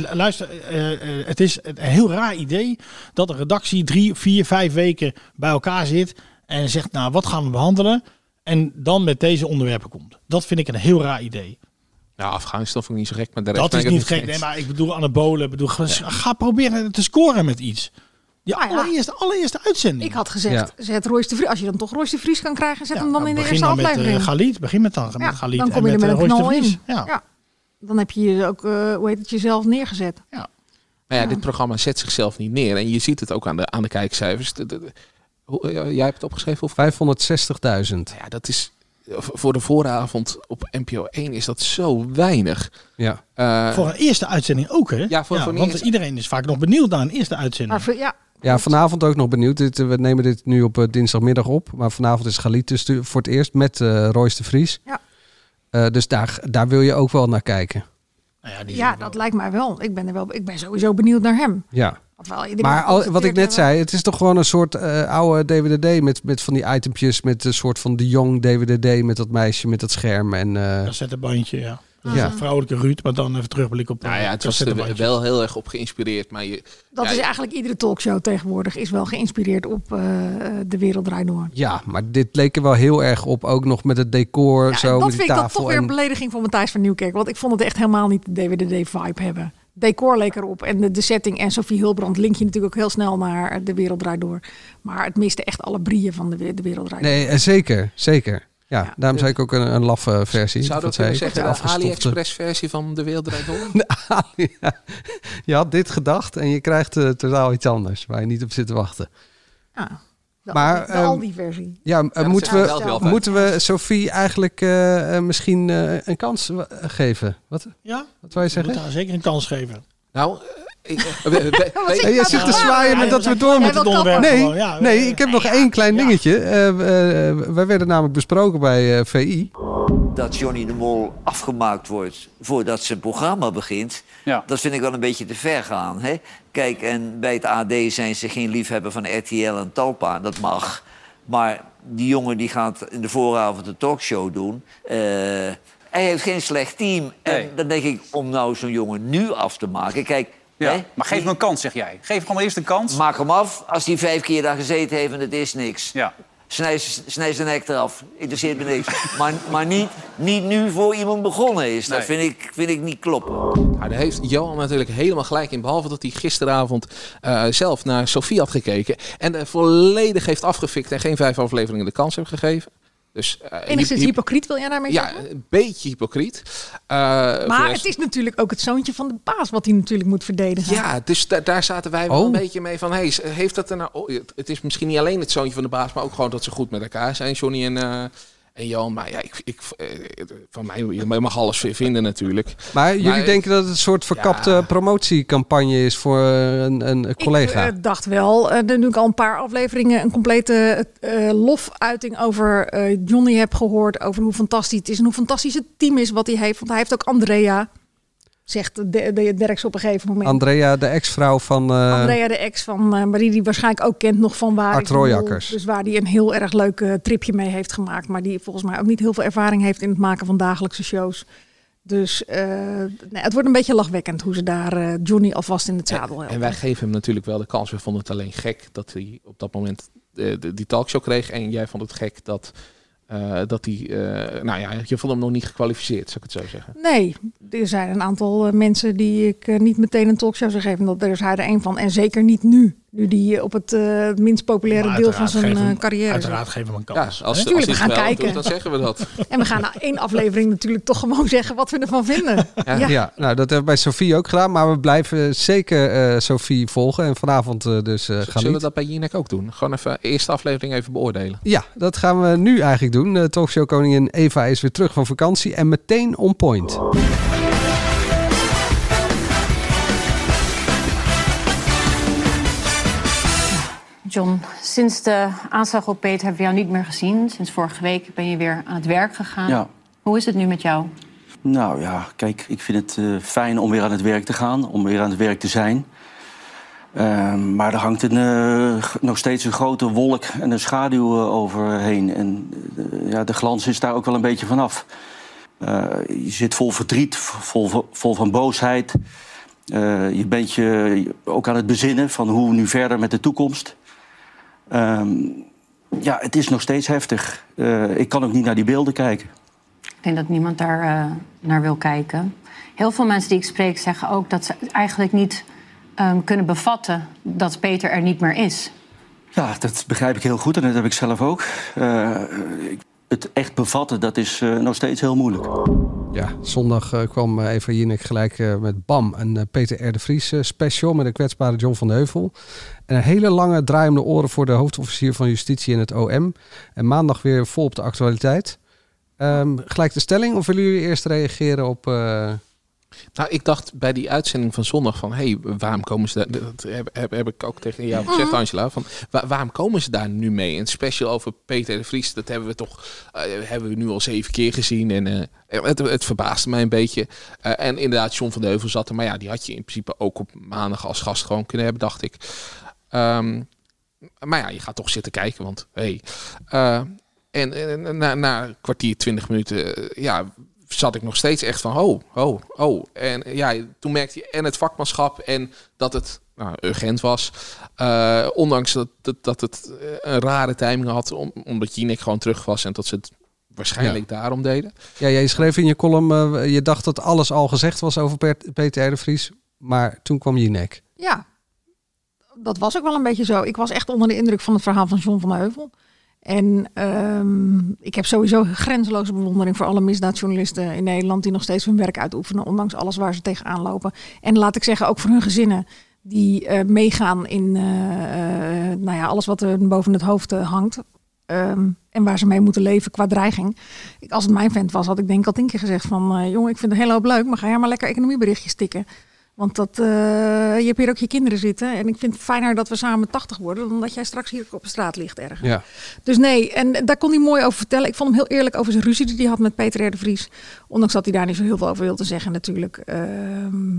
[SPEAKER 13] Eh, Luister, eh, eh, het is een heel raar idee dat een redactie drie, vier, vijf weken bij elkaar zit en zegt, nou, wat gaan we behandelen? En dan met deze onderwerpen komt. Dat vind ik een heel raar idee.
[SPEAKER 8] Nou, Afghanistan vond ik niet zo gek, maar daar
[SPEAKER 13] dat is niet gek. Nee, maar ik bedoel anabolen. Bedoel, ga, ga proberen te scoren met iets. Die
[SPEAKER 9] Ah, ja.
[SPEAKER 13] allereerste, allereerste uitzending.
[SPEAKER 9] Ik had gezegd, zet Royce de Vries. Als je dan toch Royce de Vries kan krijgen, zet
[SPEAKER 13] Ja,
[SPEAKER 9] hem dan
[SPEAKER 13] nou,
[SPEAKER 9] in de
[SPEAKER 13] begin
[SPEAKER 9] eerste
[SPEAKER 13] dan
[SPEAKER 9] aflevering.
[SPEAKER 13] Met, eh, Galit. Begin met dan met Galit.
[SPEAKER 9] dan
[SPEAKER 13] en
[SPEAKER 9] kom je er met
[SPEAKER 13] eh,
[SPEAKER 9] een
[SPEAKER 13] Royce de
[SPEAKER 9] knal
[SPEAKER 13] Vries.
[SPEAKER 9] in.
[SPEAKER 13] Ja.
[SPEAKER 9] Dan heb je je ook, eh, hoe heet het, jezelf neergezet.
[SPEAKER 8] Maar ja, dit programma zet zichzelf niet neer. En je ziet het ook aan de, aan de kijkcijfers. De- de- de- hoe- eh, jij hebt het opgeschreven? Of?
[SPEAKER 7] 560.000.
[SPEAKER 8] Ja, dat is eh, voor de vooravond op NPO 1 is dat zo weinig. Eh,
[SPEAKER 7] Ja.
[SPEAKER 13] voor een eerste uitzending ook, hè?
[SPEAKER 8] Ja, voor- voor een
[SPEAKER 13] want
[SPEAKER 8] eerste-
[SPEAKER 13] iedereen is vaak nog benieuwd naar een eerste uitzending.
[SPEAKER 9] Maar ja,
[SPEAKER 7] Ja, vanavond ook nog benieuwd. Dit, eh, we nemen dit nu op eh, dinsdagmiddag op. Maar vanavond is Galit dus tu- voor het eerst met eh Royce de Vries.
[SPEAKER 9] Ja.
[SPEAKER 7] Eh, dus daar, daar wil je ook wel naar kijken.
[SPEAKER 13] Nou
[SPEAKER 9] ja dat lijkt mij wel. Ik ben, er wel. ik ben sowieso benieuwd naar hem.
[SPEAKER 7] Ja.
[SPEAKER 9] Ofwel, iedereen
[SPEAKER 7] Maar al- wat ik
[SPEAKER 9] geconstateerd
[SPEAKER 7] net
[SPEAKER 9] hebben.
[SPEAKER 7] zei, het is toch gewoon een soort eh, oude DWDD met, met van die itempjes. Met een soort van de jong DWDD met dat meisje met dat scherm. En, eh,
[SPEAKER 13] Cassettebandje, ja. Dat is
[SPEAKER 7] Ja.
[SPEAKER 13] een vrouwelijke Ruud, maar dan even terugblik op eh,
[SPEAKER 8] Nou ja, het was er wel heel erg op geïnspireerd. Maar je,
[SPEAKER 9] Dat
[SPEAKER 8] ja,
[SPEAKER 9] is
[SPEAKER 8] je-
[SPEAKER 9] eigenlijk iedere talkshow tegenwoordig is wel geïnspireerd op eh, De Wereld Draait Door.
[SPEAKER 7] ja, maar dit leek er wel heel erg op. Ook nog met het decor
[SPEAKER 9] Ja,
[SPEAKER 7] zo,
[SPEAKER 9] en
[SPEAKER 7] met
[SPEAKER 9] dat
[SPEAKER 7] die
[SPEAKER 9] vind ik
[SPEAKER 7] tafel.
[SPEAKER 9] dan toch weer een
[SPEAKER 7] en-
[SPEAKER 9] belediging van Matthijs van Nieuwkerk. Want ik vond het echt helemaal niet de DWDD-vibe hebben. Decor leek erop en de, de setting en Sofie Hulbrand link je natuurlijk ook heel snel naar De Wereld Draait Door. Maar het miste echt alle brieën van De, de Wereld Draait Door.
[SPEAKER 7] Nee, eh, zeker, zeker. Ja, daarom zei ik ook een, een laffe versie.
[SPEAKER 8] zou dat
[SPEAKER 7] zei
[SPEAKER 8] kunnen
[SPEAKER 7] ik,
[SPEAKER 8] zeggen,
[SPEAKER 7] de
[SPEAKER 8] de
[SPEAKER 9] eh,
[SPEAKER 7] afgestofte.
[SPEAKER 8] AliExpress-versie van De Wereld Draait Door?
[SPEAKER 7] Je had dit gedacht en je krijgt eh, totaal iets anders waar je niet op zit te wachten.
[SPEAKER 9] Ja, de,
[SPEAKER 7] Maar,
[SPEAKER 9] Aldi- de
[SPEAKER 7] ehm,
[SPEAKER 9] Aldi-versie.
[SPEAKER 7] Ja, eh,
[SPEAKER 9] dat
[SPEAKER 7] moeten,
[SPEAKER 9] zegt
[SPEAKER 7] we,
[SPEAKER 9] hij zelf altijd.
[SPEAKER 7] moeten we Sophie eigenlijk eh, eh, misschien eh, een kans eh, geven? Wat,
[SPEAKER 13] Ja,
[SPEAKER 7] wat wil je
[SPEAKER 13] je moet
[SPEAKER 7] zeggen?
[SPEAKER 13] haar zeker een kans geven.
[SPEAKER 8] Nou, eh, eh, we- we- weet-
[SPEAKER 7] Hey, jij zit te zwaaien met dat we door
[SPEAKER 13] met
[SPEAKER 7] moeten.
[SPEAKER 13] het onderwerp.
[SPEAKER 7] Nee,
[SPEAKER 13] gewoon, ja.
[SPEAKER 7] nee, ik heb nog één klein dingetje. Eh, we- eh, wij werden namelijk besproken bij eh, VI.
[SPEAKER 14] dat Johnny de Mol afgemaakt wordt voordat zijn programma begint... dat vind ik wel een beetje te ver gaan. Hè? Kijk, en bij het AD zijn ze geen liefhebber van RTL en Talpa. Dat mag. Maar die jongen die gaat in de vooravond de talkshow doen... eh, hij heeft geen slecht team. En dan denk ik, om nou zo'n jongen nu af te maken... Kijk, hè?
[SPEAKER 15] Maar geef hem een kans, zeg jij. Geef hem gewoon eerst een kans.
[SPEAKER 14] Maak hem af als hij vijf keer daar gezeten heeft en het is niks. Ja. Snij, snij zijn nek eraf. Interesseert me niks. Maar, maar niet, niet nu voor iemand begonnen is. Dat
[SPEAKER 8] Nee.
[SPEAKER 14] vind, ik, vind ik niet kloppen.
[SPEAKER 8] Ja, daar heeft Johan natuurlijk helemaal gelijk in. Behalve dat hij gisteravond eh, zelf naar Sofie had gekeken. En eh, volledig heeft afgefikt en geen vijf afleveringen de kans heeft gegeven. Dus, eh,
[SPEAKER 9] Enigszins
[SPEAKER 8] hyp-
[SPEAKER 9] hypocriet wil jij daarmee
[SPEAKER 8] Ja,
[SPEAKER 9] zeggen?
[SPEAKER 8] een beetje hypocriet. Eh, voor de
[SPEAKER 9] Maar
[SPEAKER 8] rest-
[SPEAKER 9] het is natuurlijk ook het zoontje van de baas wat hij natuurlijk moet verdedigen.
[SPEAKER 8] Ja, dus da- daar zaten wij wel
[SPEAKER 9] Oh.
[SPEAKER 8] een beetje mee van... Hey, heeft dat er nou, oh, het- het is misschien niet alleen het zoontje van de baas... maar ook gewoon dat ze goed met elkaar zijn, Johnny en, eh, en Johan. Maar ja, ik, ik, eh, van mij je mag alles vinden natuurlijk.
[SPEAKER 7] Maar jullie
[SPEAKER 8] ik-
[SPEAKER 7] denken dat het een soort verkapte promotiecampagne is voor eh, een, een collega?
[SPEAKER 9] Ik eh, dacht wel, eh, er nu ik al een paar afleveringen een complete eh, lofuiting over eh, Johnny heb gehoord. Over hoe fantastisch het is en hoe fantastisch het team is wat hij heeft. Want hij heeft ook Andrea, zegt de, de, Derks op een gegeven moment.
[SPEAKER 7] Andrea, de ex-vrouw van... eh,
[SPEAKER 9] Andrea, de ex van eh, Marie, die waarschijnlijk ook kent nog van waar.
[SPEAKER 7] Art
[SPEAKER 9] ik bedoel,
[SPEAKER 7] Royakkers.
[SPEAKER 9] Dus waar die een heel erg leuk eh, tripje mee heeft gemaakt. Maar die volgens mij ook niet heel veel ervaring heeft in het maken van dagelijkse shows. Dus eh, nee, het wordt een beetje lachwekkend hoe ze daar eh, Johnny alvast in het zadel helpen.
[SPEAKER 8] En wij geven hem natuurlijk wel de kans. We vonden het alleen gek dat hij op dat moment eh, de, die talkshow kreeg. En jij vond het gek dat, eh, dat hij... eh, nou ja, je vond hem nog niet gekwalificeerd, zou ik het zo zeggen.
[SPEAKER 9] Nee, er zijn een aantal eh, mensen die ik eh, niet meteen een talkshow zou geven. Dat, daar is hij er één van. En zeker niet nu. Nu die eh, op het eh, minst populaire
[SPEAKER 13] Maar
[SPEAKER 9] deel van
[SPEAKER 13] uiteraard
[SPEAKER 9] zijn
[SPEAKER 13] geef hem-
[SPEAKER 9] eh, carrière
[SPEAKER 13] Uiteraard
[SPEAKER 9] zit.
[SPEAKER 13] geven we een
[SPEAKER 8] Ja,
[SPEAKER 13] kans.
[SPEAKER 8] als, als hij
[SPEAKER 9] Natuurlijk, we
[SPEAKER 8] het
[SPEAKER 9] gaan
[SPEAKER 8] wel
[SPEAKER 9] kijken.
[SPEAKER 8] doet, dan zeggen we dat.
[SPEAKER 9] En we gaan na één aflevering natuurlijk toch gewoon zeggen wat we ervan vinden. Ja.
[SPEAKER 7] Ja. nou dat hebben we bij Sofie ook gedaan. Maar we blijven zeker eh, Sofie volgen. En vanavond eh, dus eh
[SPEAKER 8] Zullen we
[SPEAKER 7] Galit.
[SPEAKER 8] dat bij Jinek ook doen? Gewoon even eerste aflevering even beoordelen.
[SPEAKER 7] Ja, dat gaan we nu eigenlijk doen. Eh Talkshow koningin Eva is weer terug van vakantie. En meteen on point.
[SPEAKER 11] John, sinds de aanslag op Peter hebben we jou niet meer gezien. Sinds vorige week ben je weer aan het werk gegaan.
[SPEAKER 12] Ja.
[SPEAKER 11] Hoe is het nu met jou?
[SPEAKER 12] Nou ja, kijk, ik vind het eh, fijn om weer aan het werk te gaan, om weer aan het werk te zijn. Ehm, maar er hangt een, eh, g- nog steeds een grote wolk en een schaduw eh, overheen. En eh, ja, de glans is daar ook wel een beetje vanaf. Eh, je zit vol verdriet, vol, vol van boosheid. Eh, je bent je ook aan het bezinnen van hoe nu verder met de toekomst. Ehm, ja, het is nog steeds heftig. Eh, ik kan ook niet naar die beelden kijken.
[SPEAKER 11] Ik denk dat niemand daar eh, naar wil kijken. Heel veel mensen die ik spreek zeggen ook dat ze eigenlijk niet ehm, kunnen bevatten dat Peter er niet meer is.
[SPEAKER 12] Ja, dat begrijp ik heel goed en dat heb ik zelf ook. Eh, ik- het echt bevatten, dat is eh, nog steeds heel moeilijk.
[SPEAKER 7] Ja, zondag eh, kwam eh, Eva Jinek gelijk eh, met BAM. Een eh, Peter R. de Vries eh, special met de kwetsbare John van de Heuvel. En een hele lange draai om de oren voor de hoofdofficier van justitie in het OM. En maandag weer vol op de actualiteit. Ehm, gelijk de stelling of willen jullie eerst reageren op... eh,
[SPEAKER 8] Nou, ik dacht bij die uitzending van zondag van... hé, hey, waarom komen ze daar... Dat heb, heb, heb ik ook tegen jou gezegd,
[SPEAKER 16] Mhm.
[SPEAKER 8] Angela. Van, wa- waarom komen ze daar nu mee? Een special over Peter de Vries, dat hebben we toch... eh, hebben we nu al zeven keer gezien. En eh, het, het verbaasde mij een beetje. Eh, en inderdaad, John van de Heuvel zat er. Maar ja, die had je in principe ook op maandag als gast gewoon kunnen hebben, dacht ik. Ehm, maar ja, je gaat toch zitten kijken, want hey. Eh, en eh, na, na een kwartier, twintig minuten, eh, ja, zat ik nog steeds echt van, oh, oh, oh. En eh, ja, toen merkte je en het vakmanschap en dat het nou, urgent was. Eh, ondanks dat, dat, dat het eh, een rare timing had, om, omdat Jinek gewoon terug was en dat ze het waarschijnlijk daarom deden.
[SPEAKER 7] Ja, jij schreef in je column, eh, je dacht dat alles al gezegd was over Per- Peter R. de Vries, maar toen kwam Jinek.
[SPEAKER 9] Ja, dat was ook wel een beetje zo. Ik was echt onder de indruk van het verhaal van John van de Heuvel. En ehm, ik heb sowieso grenzeloze bewondering voor alle misdaadjournalisten in Nederland die nog steeds hun werk uitoefenen, ondanks alles waar ze tegenaan lopen. En laat ik zeggen, ook voor hun gezinnen die eh, meegaan in eh, eh, nou ja, alles wat er boven het hoofd eh, hangt. Ehm, en waar ze mee moeten leven qua dreiging. Ik, als het mijn vent was, had ik denk ik al tien keer gezegd van... eh, jongen, ik vind het heel hoop leuk, maar ga jij maar lekker economieberichtjes tikken. Want dat, eh, je hebt hier ook je kinderen zitten. En ik vind het fijner dat we samen 80 worden... dan dat jij straks hier op de straat ligt ergens.
[SPEAKER 7] Ja.
[SPEAKER 9] Dus nee, en daar kon hij mooi over vertellen. Ik vond hem heel eerlijk over zijn ruzie die hij had met Peter R. de Vries. Ondanks dat hij daar niet zo heel veel over wilde zeggen natuurlijk. Ehm,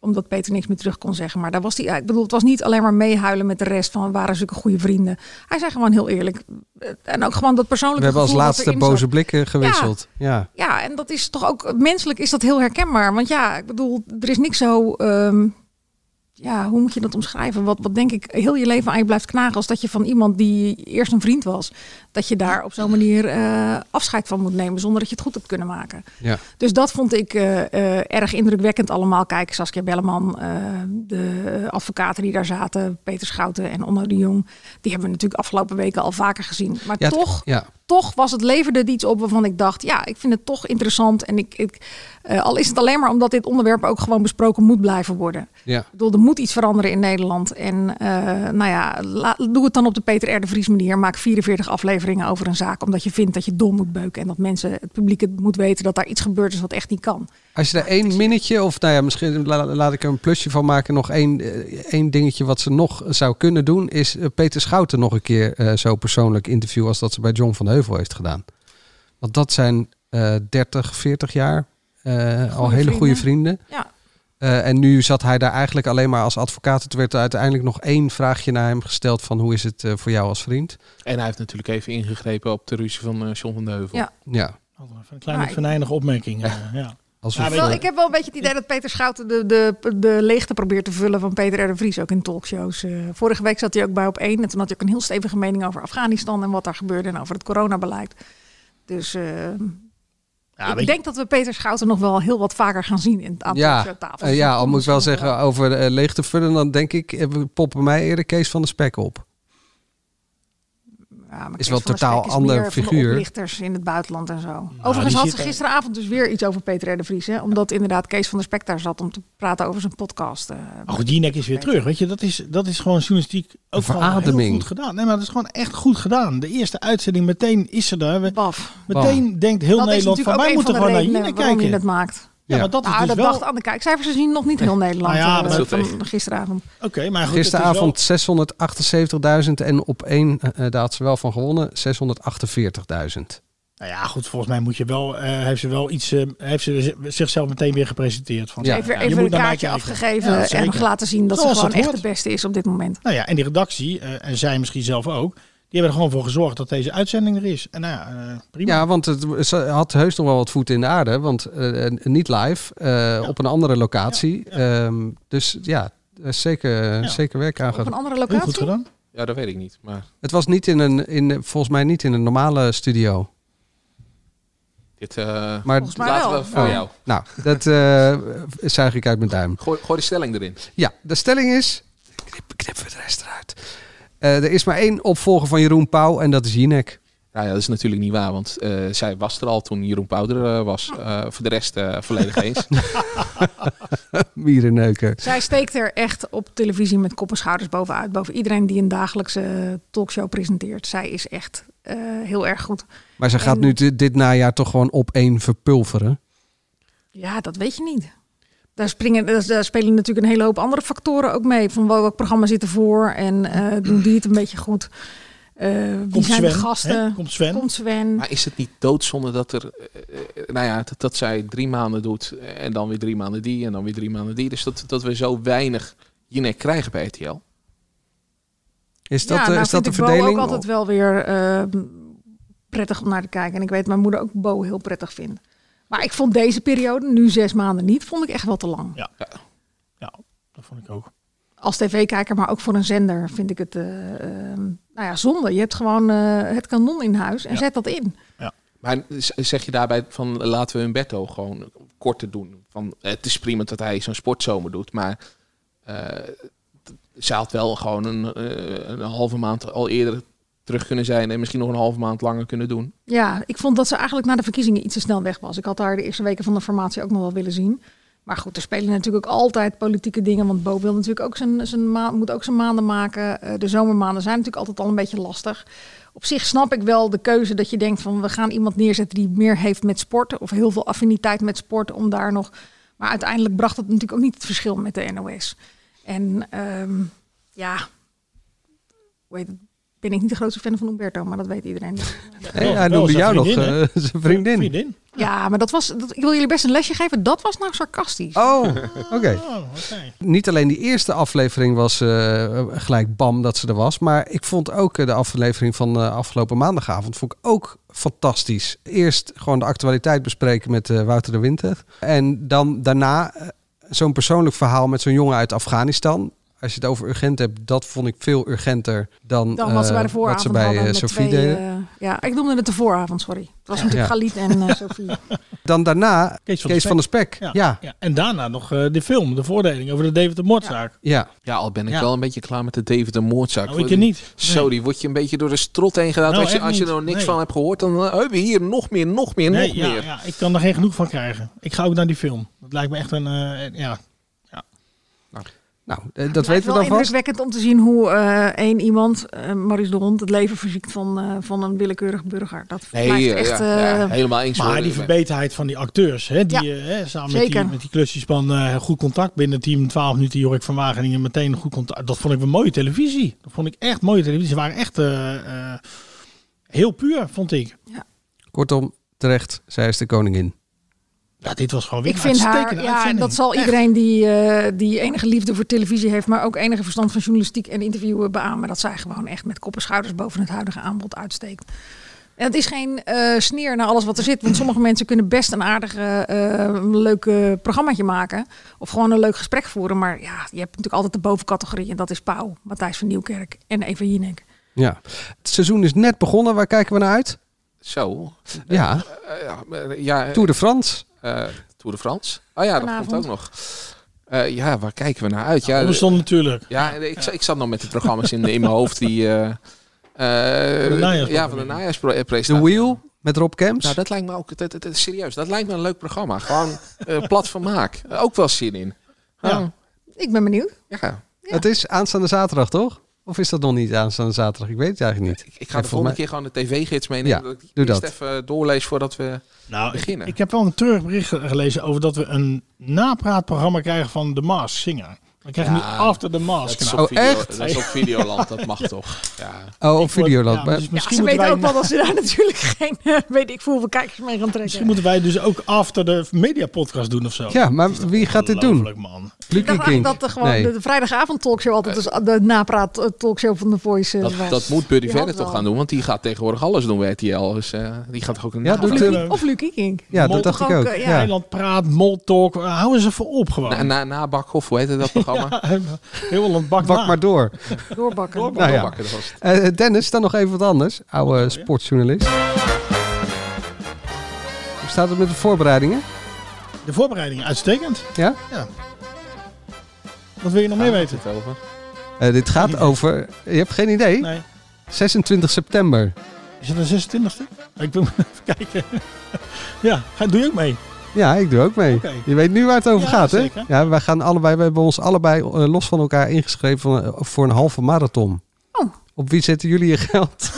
[SPEAKER 9] omdat Peter niks meer terug kon zeggen. Maar daar was hij, ja, ik bedoel, het was niet alleen maar meehuilen met de rest van we waren zulke goede vrienden. Hij zei gewoon heel eerlijk. eh, En ook gewoon dat
[SPEAKER 7] We
[SPEAKER 9] persoonlijke
[SPEAKER 7] hebben als
[SPEAKER 9] gevoel dat
[SPEAKER 7] laatste
[SPEAKER 9] erin zat.
[SPEAKER 7] boze blikken gewisseld. Ja.
[SPEAKER 9] Ja, en dat is toch ook menselijk is dat heel herkenbaar. Want ja, ik bedoel, er is niks zo. ehm, ja, hoe moet je dat omschrijven? Wat, wat denk ik heel je leven aan je blijft knagen als dat je van iemand die eerst een vriend was, dat je daar op zo'n manier eh, afscheid van moet nemen zonder dat je het goed hebt kunnen maken.
[SPEAKER 7] Ja.
[SPEAKER 9] Dus dat vond ik eh, eh, erg indrukwekkend allemaal. Kijk, Saskia Belleman, eh, de advocaten die daar zaten, Peter Schouten en Onno de Jong, die hebben we natuurlijk afgelopen weken al vaker gezien. Maar
[SPEAKER 7] Ja, het-
[SPEAKER 9] toch
[SPEAKER 7] Ja.
[SPEAKER 9] toch was het leverde het iets op waarvan ik dacht, ja, ik vind het toch interessant. En ik, ik, eh, al is het alleen maar omdat dit onderwerp ook gewoon besproken moet blijven worden.
[SPEAKER 7] Ja.
[SPEAKER 9] Ik bedoel, er moet iets veranderen in Nederland. En eh, nou ja, la- doe het dan op de Peter R. de Vries manier. Maak 44 afleveringen over een zaak, omdat je vindt dat je dom moet beuken. En dat mensen, het publiek het moet weten dat daar iets gebeurd is wat echt niet kan.
[SPEAKER 7] Als je daar één minnetje, of nou ja, misschien la- laat ik er een plusje van maken, nog één, eh, één dingetje wat ze nog zou kunnen doen, is eh, Peter Schouten nog een keer eh, zo persoonlijk interview als dat ze bij John van de Heuvel heeft gedaan. Want dat zijn eh 30, 40 jaar eh, al hele goede vrienden.
[SPEAKER 9] Ja.
[SPEAKER 7] Eh, en nu zat hij daar eigenlijk alleen maar als advocaat. Het werd uiteindelijk nog één vraagje naar hem gesteld van hoe is het eh, voor jou als vriend?
[SPEAKER 8] En hij heeft natuurlijk even ingegrepen op de ruzie van eh John van de Heuvel.
[SPEAKER 9] Ja.
[SPEAKER 7] Ja.
[SPEAKER 13] Een kleine
[SPEAKER 9] Maar ik-
[SPEAKER 13] venijnige opmerking. eh, ja.
[SPEAKER 9] Ja,
[SPEAKER 13] Ja,
[SPEAKER 9] wel,
[SPEAKER 13] weet
[SPEAKER 9] ik heb wel een beetje het idee dat Peter Schouten de, de, de leegte probeert te vullen van Peter R. de Vries ook in talkshows. Eh, vorige week zat hij ook bij op één en toen had hij ook een heel stevige mening over Afghanistan en wat daar gebeurde en over het coronabeleid. Dus eh, ik
[SPEAKER 13] weet
[SPEAKER 9] denk dat we Peter Schouten nog wel heel wat vaker gaan zien in het aantal
[SPEAKER 7] Ja,
[SPEAKER 9] tafels.
[SPEAKER 7] eh, ja, al moet ik wel zeggen, over eh, leeg te vullen, dan denk ik, eh, we poppen mij eerder Kees van de Spek op. is wel totaal ander figuur.
[SPEAKER 9] Lichters in het buitenland en zo. Overigens
[SPEAKER 7] die
[SPEAKER 9] had
[SPEAKER 7] zit
[SPEAKER 9] ze
[SPEAKER 7] daar-
[SPEAKER 9] gisteravond dus weer iets over Peter R. de Vries. Hè? Omdat inderdaad Kees van der Spek daar zat om te praten over zijn podcast. eh.
[SPEAKER 13] Maar goed, Jinek is weer terug. Weet je, dat is, dat is gewoon journalistiek ook gewoon heel
[SPEAKER 7] verademing.
[SPEAKER 13] goed gedaan. Nee, maar dat is gewoon echt goed gedaan. De eerste uitzending, meteen is ze daar. We- Meteen
[SPEAKER 7] Bam.
[SPEAKER 13] denkt heel
[SPEAKER 9] dat
[SPEAKER 13] Nederland
[SPEAKER 9] is
[SPEAKER 13] van
[SPEAKER 9] natuurlijk ook
[SPEAKER 13] wij
[SPEAKER 9] een
[SPEAKER 13] moeten
[SPEAKER 9] van de
[SPEAKER 13] gewoon naar
[SPEAKER 9] redenen
[SPEAKER 13] Jinek
[SPEAKER 9] waarom
[SPEAKER 13] kijken.
[SPEAKER 9] je dat maakt.
[SPEAKER 13] Ja, maar dat is
[SPEAKER 9] Nou,
[SPEAKER 13] dus
[SPEAKER 9] dat
[SPEAKER 13] wel...
[SPEAKER 9] dacht aan de kijkcijfers zien nog niet heel Nederland
[SPEAKER 13] Nou ja,
[SPEAKER 9] eh,
[SPEAKER 13] dat is
[SPEAKER 9] van
[SPEAKER 13] tegen.
[SPEAKER 9] gisteravond.
[SPEAKER 13] Oké, maar goed. het is wel-
[SPEAKER 7] Gisteravond 678.000 en op één, eh, eh, daar had ze wel van gewonnen, 648.000.
[SPEAKER 13] Nou ja, goed, volgens mij moet je wel, eh, heeft ze wel iets, eh, heeft ze zi- zichzelf meteen weer gepresenteerd. Van,
[SPEAKER 7] Ja.
[SPEAKER 9] Even,
[SPEAKER 13] je
[SPEAKER 9] even
[SPEAKER 13] moet naar
[SPEAKER 9] een
[SPEAKER 13] mij
[SPEAKER 9] kaartje
[SPEAKER 13] kijken.
[SPEAKER 9] afgegeven
[SPEAKER 13] Ja,
[SPEAKER 9] en
[SPEAKER 13] zeker.
[SPEAKER 9] nog laten zien dat
[SPEAKER 13] Zoals
[SPEAKER 9] ze gewoon echt
[SPEAKER 13] hoort.
[SPEAKER 9] de beste is op dit moment.
[SPEAKER 13] Nou ja, en die redactie, eh, en zij misschien zelf ook, die hebben er gewoon voor gezorgd dat deze uitzending er is. En nou ja, eh, prima.
[SPEAKER 7] Ja, want het eh, ze had heus nog wel wat voet in de aarde, want eh, eh, niet live, eh, op een andere locatie. Ehm, dus ja, er is zeker, zeker werk aan
[SPEAKER 9] Op een andere locatie?
[SPEAKER 8] Ja, dat weet ik niet. Maar
[SPEAKER 7] Het was niet in een, in, volgens mij niet in een normale studio.
[SPEAKER 8] dit eh,
[SPEAKER 7] Maar
[SPEAKER 8] laten we voor jou.
[SPEAKER 7] Nou, dat eh zuig ik uit mijn duim.
[SPEAKER 8] Gooi, gooi de stelling erin.
[SPEAKER 7] Ja, de stelling is. Knip, knippen we de rest eruit. Eh, er is maar één opvolger van Jeroen Pauw en dat is Jinek.
[SPEAKER 8] Nou ja, dat is natuurlijk niet waar, want eh, zij was er al toen Jeroen Pouder eh, was. Eh, voor de rest eh, volledig eens.
[SPEAKER 7] Mierenneuker.
[SPEAKER 9] Zij steekt er echt op televisie met kop en schouders bovenuit. Boven iedereen die een dagelijkse talkshow eh, presenteert. Zij is echt eh, heel erg goed.
[SPEAKER 7] Maar ze gaat
[SPEAKER 9] En-
[SPEAKER 7] nu dit- dit najaar toch gewoon op één verpulveren.
[SPEAKER 9] Ja, dat weet je niet. Daar, springen, daar- daar spelen natuurlijk een hele hoop andere factoren ook mee. Van welk programma zit ervoor en eh, doen die het een beetje goed? Eh, wie
[SPEAKER 13] Komt
[SPEAKER 9] zijn de
[SPEAKER 13] Sven,
[SPEAKER 9] gasten?
[SPEAKER 13] hè? Komt Sven?
[SPEAKER 9] Komt Sven.
[SPEAKER 8] Maar is het niet doodzonde dat er, eh, eh, nou ja, dat, dat zij drie maanden doet eh, en dan weer drie maanden die en dan weer drie maanden die. Dus dat, dat we zo weinig Jinek krijgen bij RTL.
[SPEAKER 7] Is dat,
[SPEAKER 9] ja,
[SPEAKER 7] eh,
[SPEAKER 9] nou
[SPEAKER 7] is dat de
[SPEAKER 9] vind ik Bo
[SPEAKER 7] verdeling?
[SPEAKER 9] ook altijd wel weer eh, prettig om naar te kijken. En ik weet dat mijn moeder ook Bo heel prettig vindt. Maar ik vond deze periode, nu zes maanden niet, vond ik echt wel te lang.
[SPEAKER 13] Ja, ja dat vond ik ook.
[SPEAKER 9] Als tv-kijker, maar ook voor een zender vind ik het eh, eh, nou ja, zonde. Je hebt gewoon eh, het kanon in huis en
[SPEAKER 8] Ja.
[SPEAKER 9] zet dat in.
[SPEAKER 8] Maar z- zeg je daarbij van laten we Humberto gewoon korter doen? Van, het is prima dat hij zo'n sportzomer doet, maar eh, t- ze had wel gewoon een, eh, een halve maand al eerder terug kunnen zijn en misschien nog een halve maand langer kunnen doen.
[SPEAKER 9] Ja, ik vond dat ze eigenlijk na de verkiezingen iets te snel weg was. Ik had haar de eerste weken van de formatie ook nog wel willen zien. Maar goed, er spelen natuurlijk ook altijd politieke dingen. Want Bo wil natuurlijk ook zijn, zijn ma- moet ook zijn maanden maken. Eh, de zomermaanden zijn natuurlijk altijd al een beetje lastig. Op zich snap ik wel de keuze dat je denkt van we gaan iemand neerzetten die meer heeft met sporten. Of heel veel affiniteit met sporten om daar nog. Maar uiteindelijk bracht dat natuurlijk ook niet het verschil met de NOS. En ehm, ja, hoe heet het? ben ik niet de grootste fan van Umberto, maar dat weet iedereen.
[SPEAKER 7] Hey, hij noemde jou nog eh, zijn vriendin.
[SPEAKER 9] Ja, maar dat was. Dat, ik wil jullie best een lesje geven. Dat was nou sarcastisch.
[SPEAKER 7] Oh, oké. Niet alleen die eerste aflevering was eh, gelijk bam dat ze er was. Maar ik vond ook eh, de aflevering van eh, afgelopen maandagavond vond ik ook fantastisch. Eerst gewoon de actualiteit bespreken met eh, Wouter de Winter. En dan daarna eh, zo'n persoonlijk verhaal met zo'n jongen uit Afghanistan. Als je het over urgent hebt, dat vond ik veel urgenter dan,
[SPEAKER 9] Dan wat ze bij de
[SPEAKER 7] eh, wat
[SPEAKER 9] vooravond
[SPEAKER 7] ze bij
[SPEAKER 9] hadden
[SPEAKER 7] eh,
[SPEAKER 9] met
[SPEAKER 7] Sophie
[SPEAKER 9] twee,
[SPEAKER 7] deden.
[SPEAKER 9] eh, ja, ik noemde het de vooravond, sorry. Het was natuurlijk
[SPEAKER 7] Ja.
[SPEAKER 9] Galit en eh Sophie.
[SPEAKER 7] Dan daarna Kees van, de Spek.
[SPEAKER 13] Ja.
[SPEAKER 7] ja.
[SPEAKER 13] Ja, En daarna nog eh, de film, de voordeling over de David de Moordzaak.
[SPEAKER 7] Ja.
[SPEAKER 8] Ja, al ben ik
[SPEAKER 13] Ja.
[SPEAKER 8] wel een beetje klaar met de David de Moordzaak.
[SPEAKER 13] Nou, ik je niet.
[SPEAKER 8] Zo, die word je een beetje door de strot heen gedaan.
[SPEAKER 13] Nou,
[SPEAKER 8] als je,
[SPEAKER 13] echt
[SPEAKER 8] als je
[SPEAKER 13] niet.
[SPEAKER 8] er niks
[SPEAKER 13] Nee.
[SPEAKER 8] van hebt gehoord, dan eh, hebben we hier nog meer, nog meer, nog
[SPEAKER 13] ja,
[SPEAKER 8] meer.
[SPEAKER 13] ja, ik kan er geen genoeg van krijgen. Ik ga ook naar die film. Dat lijkt me echt een. eh, ja.
[SPEAKER 7] Nou, eh, dat
[SPEAKER 9] Maar het
[SPEAKER 7] weten
[SPEAKER 9] is
[SPEAKER 7] we
[SPEAKER 9] wel
[SPEAKER 7] dan vast.
[SPEAKER 9] indrukwekkend om te zien hoe eh, één iemand, eh Maurice de Hond, het leven verziekt van, eh, van een willekeurig burger. Dat blijft
[SPEAKER 8] eh,
[SPEAKER 9] echt...
[SPEAKER 8] ja,
[SPEAKER 9] eh,
[SPEAKER 8] ja, helemaal eens.
[SPEAKER 13] Maar
[SPEAKER 8] hoor.
[SPEAKER 13] die verbeterheid van die acteurs, hè, die
[SPEAKER 9] Ja,
[SPEAKER 13] eh, hè, samen met
[SPEAKER 9] zeker.
[SPEAKER 13] die, met die klusjesman eh, goed contact binnen team 12 minuten Jorik van Wageningen meteen goed contact. Dat vond ik een mooie televisie. Dat vond ik echt mooie televisie. Ze waren echt eh, eh, heel puur, vond ik.
[SPEAKER 7] Kortom, terecht, zij is de koningin.
[SPEAKER 13] Ja, dit was gewoon weer
[SPEAKER 9] Ik
[SPEAKER 13] een
[SPEAKER 9] vind haar,
[SPEAKER 13] uitstekende
[SPEAKER 9] ja, en
[SPEAKER 13] uitzending.
[SPEAKER 9] dat zal
[SPEAKER 13] Echt.
[SPEAKER 9] iedereen die, eh, die enige liefde voor televisie heeft, maar ook enige verstand van journalistiek en interviewen beamen, dat zij gewoon echt met kop en schouders boven het huidige aanbod uitsteekt. En het is geen eh, sneer naar alles wat er zit, want sommige mensen kunnen best een aardig, eh leuk eh, programmaatje maken of gewoon een leuk gesprek voeren, maar ja, je hebt natuurlijk altijd de bovencategorie en dat is Pauw, Matthijs van Nieuwkerk en Eva Jinek.
[SPEAKER 7] Ja. Het seizoen is net begonnen. Waar kijken we naar uit?
[SPEAKER 8] Zo.
[SPEAKER 7] Ja.
[SPEAKER 8] Eh, ja, maar, eh, ja, eh,
[SPEAKER 7] Tour de France.
[SPEAKER 8] eh, Tour de France. Oh ja, dat
[SPEAKER 13] Vanavond.
[SPEAKER 8] komt ook nog. Eh, ja, waar kijken we naar uit? Ja, eh,
[SPEAKER 13] Alles stond Oh, natuurlijk.
[SPEAKER 8] ja ik, ik zat nog met de programma's in, in mijn hoofd die... eh, eh,
[SPEAKER 13] najaarsprogramma.
[SPEAKER 8] ja, van de eh, najaarspresentatie.
[SPEAKER 7] The Wheel met Rob Kemps.
[SPEAKER 8] Nou, dat lijkt me ook, dat, dat- dat- serieus, dat lijkt me een leuk programma. Gewoon eh, plat van maak. Ook wel zin in. Oh, Ja.
[SPEAKER 9] Ik ben benieuwd.
[SPEAKER 8] Ja.
[SPEAKER 7] Het is aanstaande zaterdag, toch? Of is dat nog niet aanstaande zaterdag? Ik weet het eigenlijk niet.
[SPEAKER 8] Ik ga de volgende keer gewoon de tv-gids meenemen.
[SPEAKER 7] Ja,
[SPEAKER 8] dat ik
[SPEAKER 7] doe
[SPEAKER 8] eerst
[SPEAKER 7] dat.
[SPEAKER 8] even doorlees voordat we
[SPEAKER 13] Nou,
[SPEAKER 8] beginnen.
[SPEAKER 13] Ik heb wel een treurig bericht gelezen over dat we een napraatprogramma krijgen van de Maas Singer. We krijgen
[SPEAKER 8] Ja,
[SPEAKER 13] nu After the Maas.
[SPEAKER 8] dat is
[SPEAKER 13] kanaal.
[SPEAKER 9] Oh,
[SPEAKER 8] op video- Dat is op Videoland, dat mag toch? Ja.
[SPEAKER 7] Oh,
[SPEAKER 13] Ja,
[SPEAKER 7] op
[SPEAKER 13] dus
[SPEAKER 7] Videoland. Maar-
[SPEAKER 13] misschien
[SPEAKER 9] Ze
[SPEAKER 13] moeten
[SPEAKER 9] weten
[SPEAKER 13] wij-
[SPEAKER 9] ook wel dat ze daar natuurlijk geen, eh, weet ik hoeveel kijkers mee gaan trekken.
[SPEAKER 13] Misschien moeten wij dus ook After the Media podcast doen of zo.
[SPEAKER 7] Ja, maar wie gaat dit doen?
[SPEAKER 13] man.
[SPEAKER 9] Ik dacht
[SPEAKER 7] Lucky
[SPEAKER 9] eigenlijk
[SPEAKER 7] King.
[SPEAKER 9] dat er gewoon
[SPEAKER 7] Nee.
[SPEAKER 9] de, de vrijdagavond talkshow altijd dus de napraat eh, talkshow van The Voice eh, was.
[SPEAKER 8] Dat, dat moet Buddy
[SPEAKER 9] Die
[SPEAKER 8] verder
[SPEAKER 9] had
[SPEAKER 8] toch
[SPEAKER 9] wel.
[SPEAKER 8] gaan doen, want die gaat tegenwoordig alles doen bij RTL. Dus eh, die gaat toch ook een
[SPEAKER 7] Ja,
[SPEAKER 8] naam
[SPEAKER 7] doet,
[SPEAKER 8] geven?
[SPEAKER 7] eh,
[SPEAKER 9] Of Lucky King.
[SPEAKER 7] Ja, dat dacht ik ook.
[SPEAKER 9] eh,
[SPEAKER 7] ja.
[SPEAKER 13] Nederland praat, mol talk, eh, houden ze voor op gewoon.
[SPEAKER 8] na, na, Nabakhoff, hoe heette dat programma?
[SPEAKER 13] Heel wel een bak,
[SPEAKER 7] Bak maar door.
[SPEAKER 9] Doorbakken.
[SPEAKER 7] Nou ja.
[SPEAKER 8] Nabakken, dat was het.
[SPEAKER 7] Eh, Dennis, dan nog even wat anders.
[SPEAKER 8] Oh,
[SPEAKER 7] Oude sportjournalist. Hoe staat het met de voorbereidingen?
[SPEAKER 13] De voorbereiding, uitstekend.
[SPEAKER 7] Ja?
[SPEAKER 13] Ja. Wat wil je nog meer weten?
[SPEAKER 8] Het over.
[SPEAKER 7] Eh, dit gaat over... Je hebt geen idee?
[SPEAKER 13] Nee.
[SPEAKER 7] 26 september.
[SPEAKER 13] Is het een 26e? Ik wil even kijken. ja, ga, doe je ook mee?
[SPEAKER 7] Ja, ik doe ook mee.
[SPEAKER 13] Oké.
[SPEAKER 7] Je weet nu waar het over
[SPEAKER 13] Ja,
[SPEAKER 7] gaat, hè?
[SPEAKER 13] zeker.
[SPEAKER 7] Ja, eh, wij gaan allebei, we hebben ons allebei eh, los van elkaar ingeschreven voor- voor een halve marathon.
[SPEAKER 9] Oh.
[SPEAKER 7] Op wie zetten jullie je geld?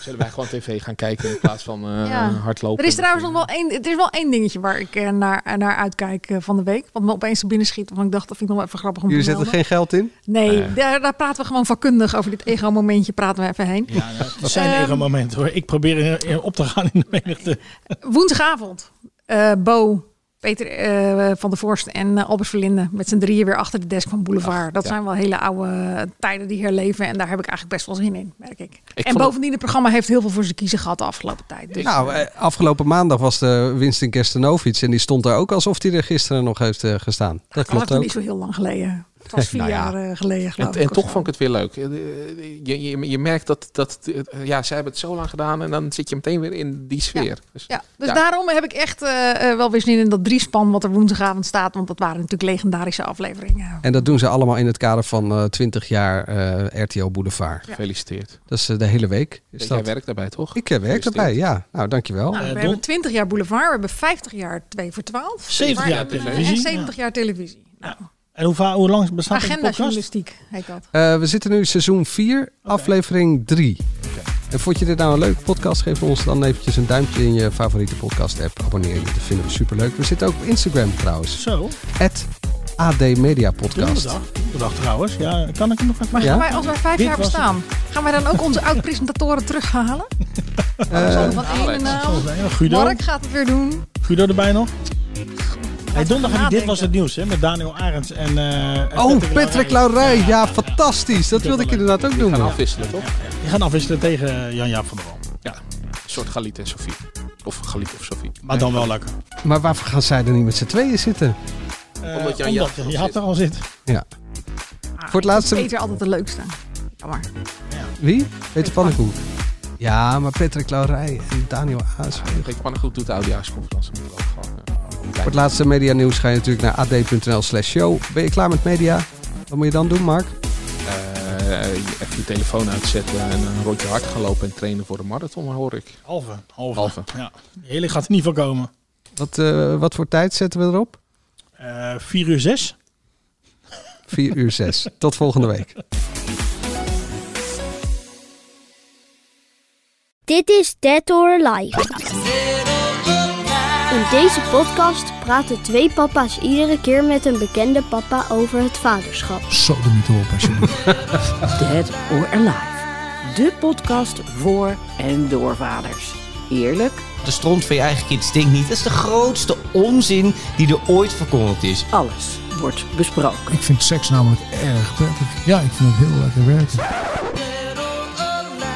[SPEAKER 8] Zullen wij gewoon tv gaan kijken in plaats van eh,
[SPEAKER 9] Ja.
[SPEAKER 8] hardlopen?
[SPEAKER 9] Er is trouwens nog wel één, er is wel één dingetje waar ik eh, naar, naar uitkijk eh, van de week. Wat me opeens te binnen schiet. Want ik dacht, dat vind ik nog wel even grappig om
[SPEAKER 7] Jullie
[SPEAKER 9] te
[SPEAKER 7] zetten er
[SPEAKER 9] melden.
[SPEAKER 7] geen Ah, geld in?
[SPEAKER 9] Nee,
[SPEAKER 7] Nee.
[SPEAKER 9] Daar, daar praten we gewoon vakkundig over. Dit ego-momentje praten we even heen.
[SPEAKER 13] Het zijn
[SPEAKER 9] Ehm,
[SPEAKER 13] eigen moment hoor. Ik probeer eh, op te gaan in de menigte.
[SPEAKER 9] Woensdagavond. eh, Bo, Peter eh, van der Vorst en eh, Albert Verlinde met z'n drieën weer achter de desk van Boulevard. dat
[SPEAKER 8] ja.
[SPEAKER 9] zijn wel hele oude eh, tijden die herleven. En daar heb ik eigenlijk best wel zin in, merk ik. en
[SPEAKER 7] vond-
[SPEAKER 9] bovendien, het programma heeft heel veel voor zijn kiezen gehad de afgelopen tijd. Dus,
[SPEAKER 7] nou, eh, afgelopen maandag was de Winston Kerstenovic. En die stond daar ook alsof hij er gisteren nog heeft eh, gestaan. Dat
[SPEAKER 9] dat
[SPEAKER 7] klopt
[SPEAKER 9] was
[SPEAKER 7] ook.
[SPEAKER 9] niet zo heel lang geleden. Het was vier
[SPEAKER 7] Nou ja.
[SPEAKER 9] jaar eh, geleden, geloof ik.
[SPEAKER 8] En, en
[SPEAKER 9] of
[SPEAKER 8] toch
[SPEAKER 9] zo.
[SPEAKER 8] vond ik het weer leuk. Eh, Je, je, je merkt dat, dat eh, ja, zij hebben het zo lang gedaan en dan zit je meteen weer in die sfeer. Dus,
[SPEAKER 9] Ja, dus
[SPEAKER 8] Ja.
[SPEAKER 9] daarom heb ik echt eh, eh, wel weer zin in dat driespan wat er woensdagavond staat. Want dat waren natuurlijk legendarische afleveringen.
[SPEAKER 7] En dat doen ze allemaal in het kader van eh 20 jaar eh, RTL Boulevard.
[SPEAKER 8] Gefeliciteerd. Dus
[SPEAKER 7] Dat is eh, de hele week. Is
[SPEAKER 8] jij
[SPEAKER 7] dat?
[SPEAKER 8] werkt daarbij toch?
[SPEAKER 7] Ik eh, werk erbij, ja. Nou, dankjewel.
[SPEAKER 9] Nou,
[SPEAKER 13] Eh,
[SPEAKER 9] we hebben 20 jaar Boulevard, we hebben 50 jaar 2 voor 12.
[SPEAKER 13] 70
[SPEAKER 9] Maar-
[SPEAKER 13] jaar
[SPEAKER 9] en, eh,
[SPEAKER 13] televisie.
[SPEAKER 9] En 70 jaar televisie.
[SPEAKER 13] En hoe, va- hoe lang bestaat de
[SPEAKER 9] Agenda
[SPEAKER 13] podcast?
[SPEAKER 9] journalistiek heet dat.
[SPEAKER 7] Eh, we zitten nu seizoen 4, aflevering 3. En vond je dit nou een leuke podcast? Geef ons dan eventjes een duimpje in je favoriete podcast app. Abonneer je, dat vinden we superleuk. We zitten ook op Instagram trouwens.
[SPEAKER 13] Zo.
[SPEAKER 7] AD Media Podcast. Oh,
[SPEAKER 13] Donderdag. Donderdag trouwens. Ja, kan ik hem nog even?
[SPEAKER 9] Maar
[SPEAKER 7] Ja?
[SPEAKER 9] gaan wij, als wij vijf
[SPEAKER 13] Dit
[SPEAKER 9] jaar
[SPEAKER 13] was het.
[SPEAKER 9] bestaan, gaan wij dan ook onze oud-presentatoren terughalen?
[SPEAKER 13] Eh,
[SPEAKER 9] Alexander van Enenaal.
[SPEAKER 13] Ja, Guido.
[SPEAKER 9] Mark gaat het weer doen.
[SPEAKER 13] Guido erbij nog? Hey, donderdag heb ik dit
[SPEAKER 9] nadenken.
[SPEAKER 13] was het nieuws hè, met Daniel Arends en, eh, en
[SPEAKER 7] Oh, Patrick Laurij. Ja, fantastisch. Dat wilde ik inderdaad ook
[SPEAKER 8] We gaan
[SPEAKER 7] noemen.
[SPEAKER 8] afwisselen, toch?
[SPEAKER 13] Die gaan afwisselen tegen Jan-Jaap van der Wal.
[SPEAKER 8] Ja. Een soort Galit en Sofie. Of Galit of Sofie.
[SPEAKER 13] Maar dan wel lekker.
[SPEAKER 7] Maar waarvoor gaan zij er niet met z'n tweeën zitten?
[SPEAKER 13] Eh,
[SPEAKER 8] Omdat
[SPEAKER 13] omdat
[SPEAKER 8] Jan
[SPEAKER 13] Jan
[SPEAKER 8] Jaap erop
[SPEAKER 13] Jaap
[SPEAKER 8] zit.
[SPEAKER 13] er al zit.
[SPEAKER 7] Ja. Voor het laatste...
[SPEAKER 9] Peter altijd de leukste. Jammer.
[SPEAKER 7] Wie? Peter Pannenkoek. Ja, maar Patrick Laurij en Daniel Aas.
[SPEAKER 8] Kijk, Pannengoed doet de oudejaarsconferentie. Moet ook gewoon, eh,
[SPEAKER 7] Voor het laatste media nieuws ga je natuurlijk naar ad.nl slash show. Ben je klaar met media? Wat moet je dan doen, Mark?
[SPEAKER 8] eh, even je telefoon uitzetten en een rondje hard gaan lopen en trainen voor de marathon, hoor ik.
[SPEAKER 13] Halve. Halve.
[SPEAKER 8] Halve.
[SPEAKER 13] Ja. Hele gaat er niet van komen.
[SPEAKER 7] Wat, eh, wat voor tijd zetten we erop?
[SPEAKER 13] Eh 4 uur 6.
[SPEAKER 7] 4 uur 6. Tot volgende week.
[SPEAKER 16] Dit is Dead or Alive. In deze podcast praten twee papa's iedere keer met een bekende papa over het vaderschap.
[SPEAKER 5] Zo de mythe op, alsjeblieft.
[SPEAKER 17] Dead or Alive. De podcast voor en door vaders. Eerlijk,
[SPEAKER 18] De stront van je eigen kind stinkt niet. Dat is de grootste onzin die er ooit verkondigd is.
[SPEAKER 17] alles wordt besproken.
[SPEAKER 5] Ik vind seks namelijk erg prettig. Ja, ik vind het heel lekker werken.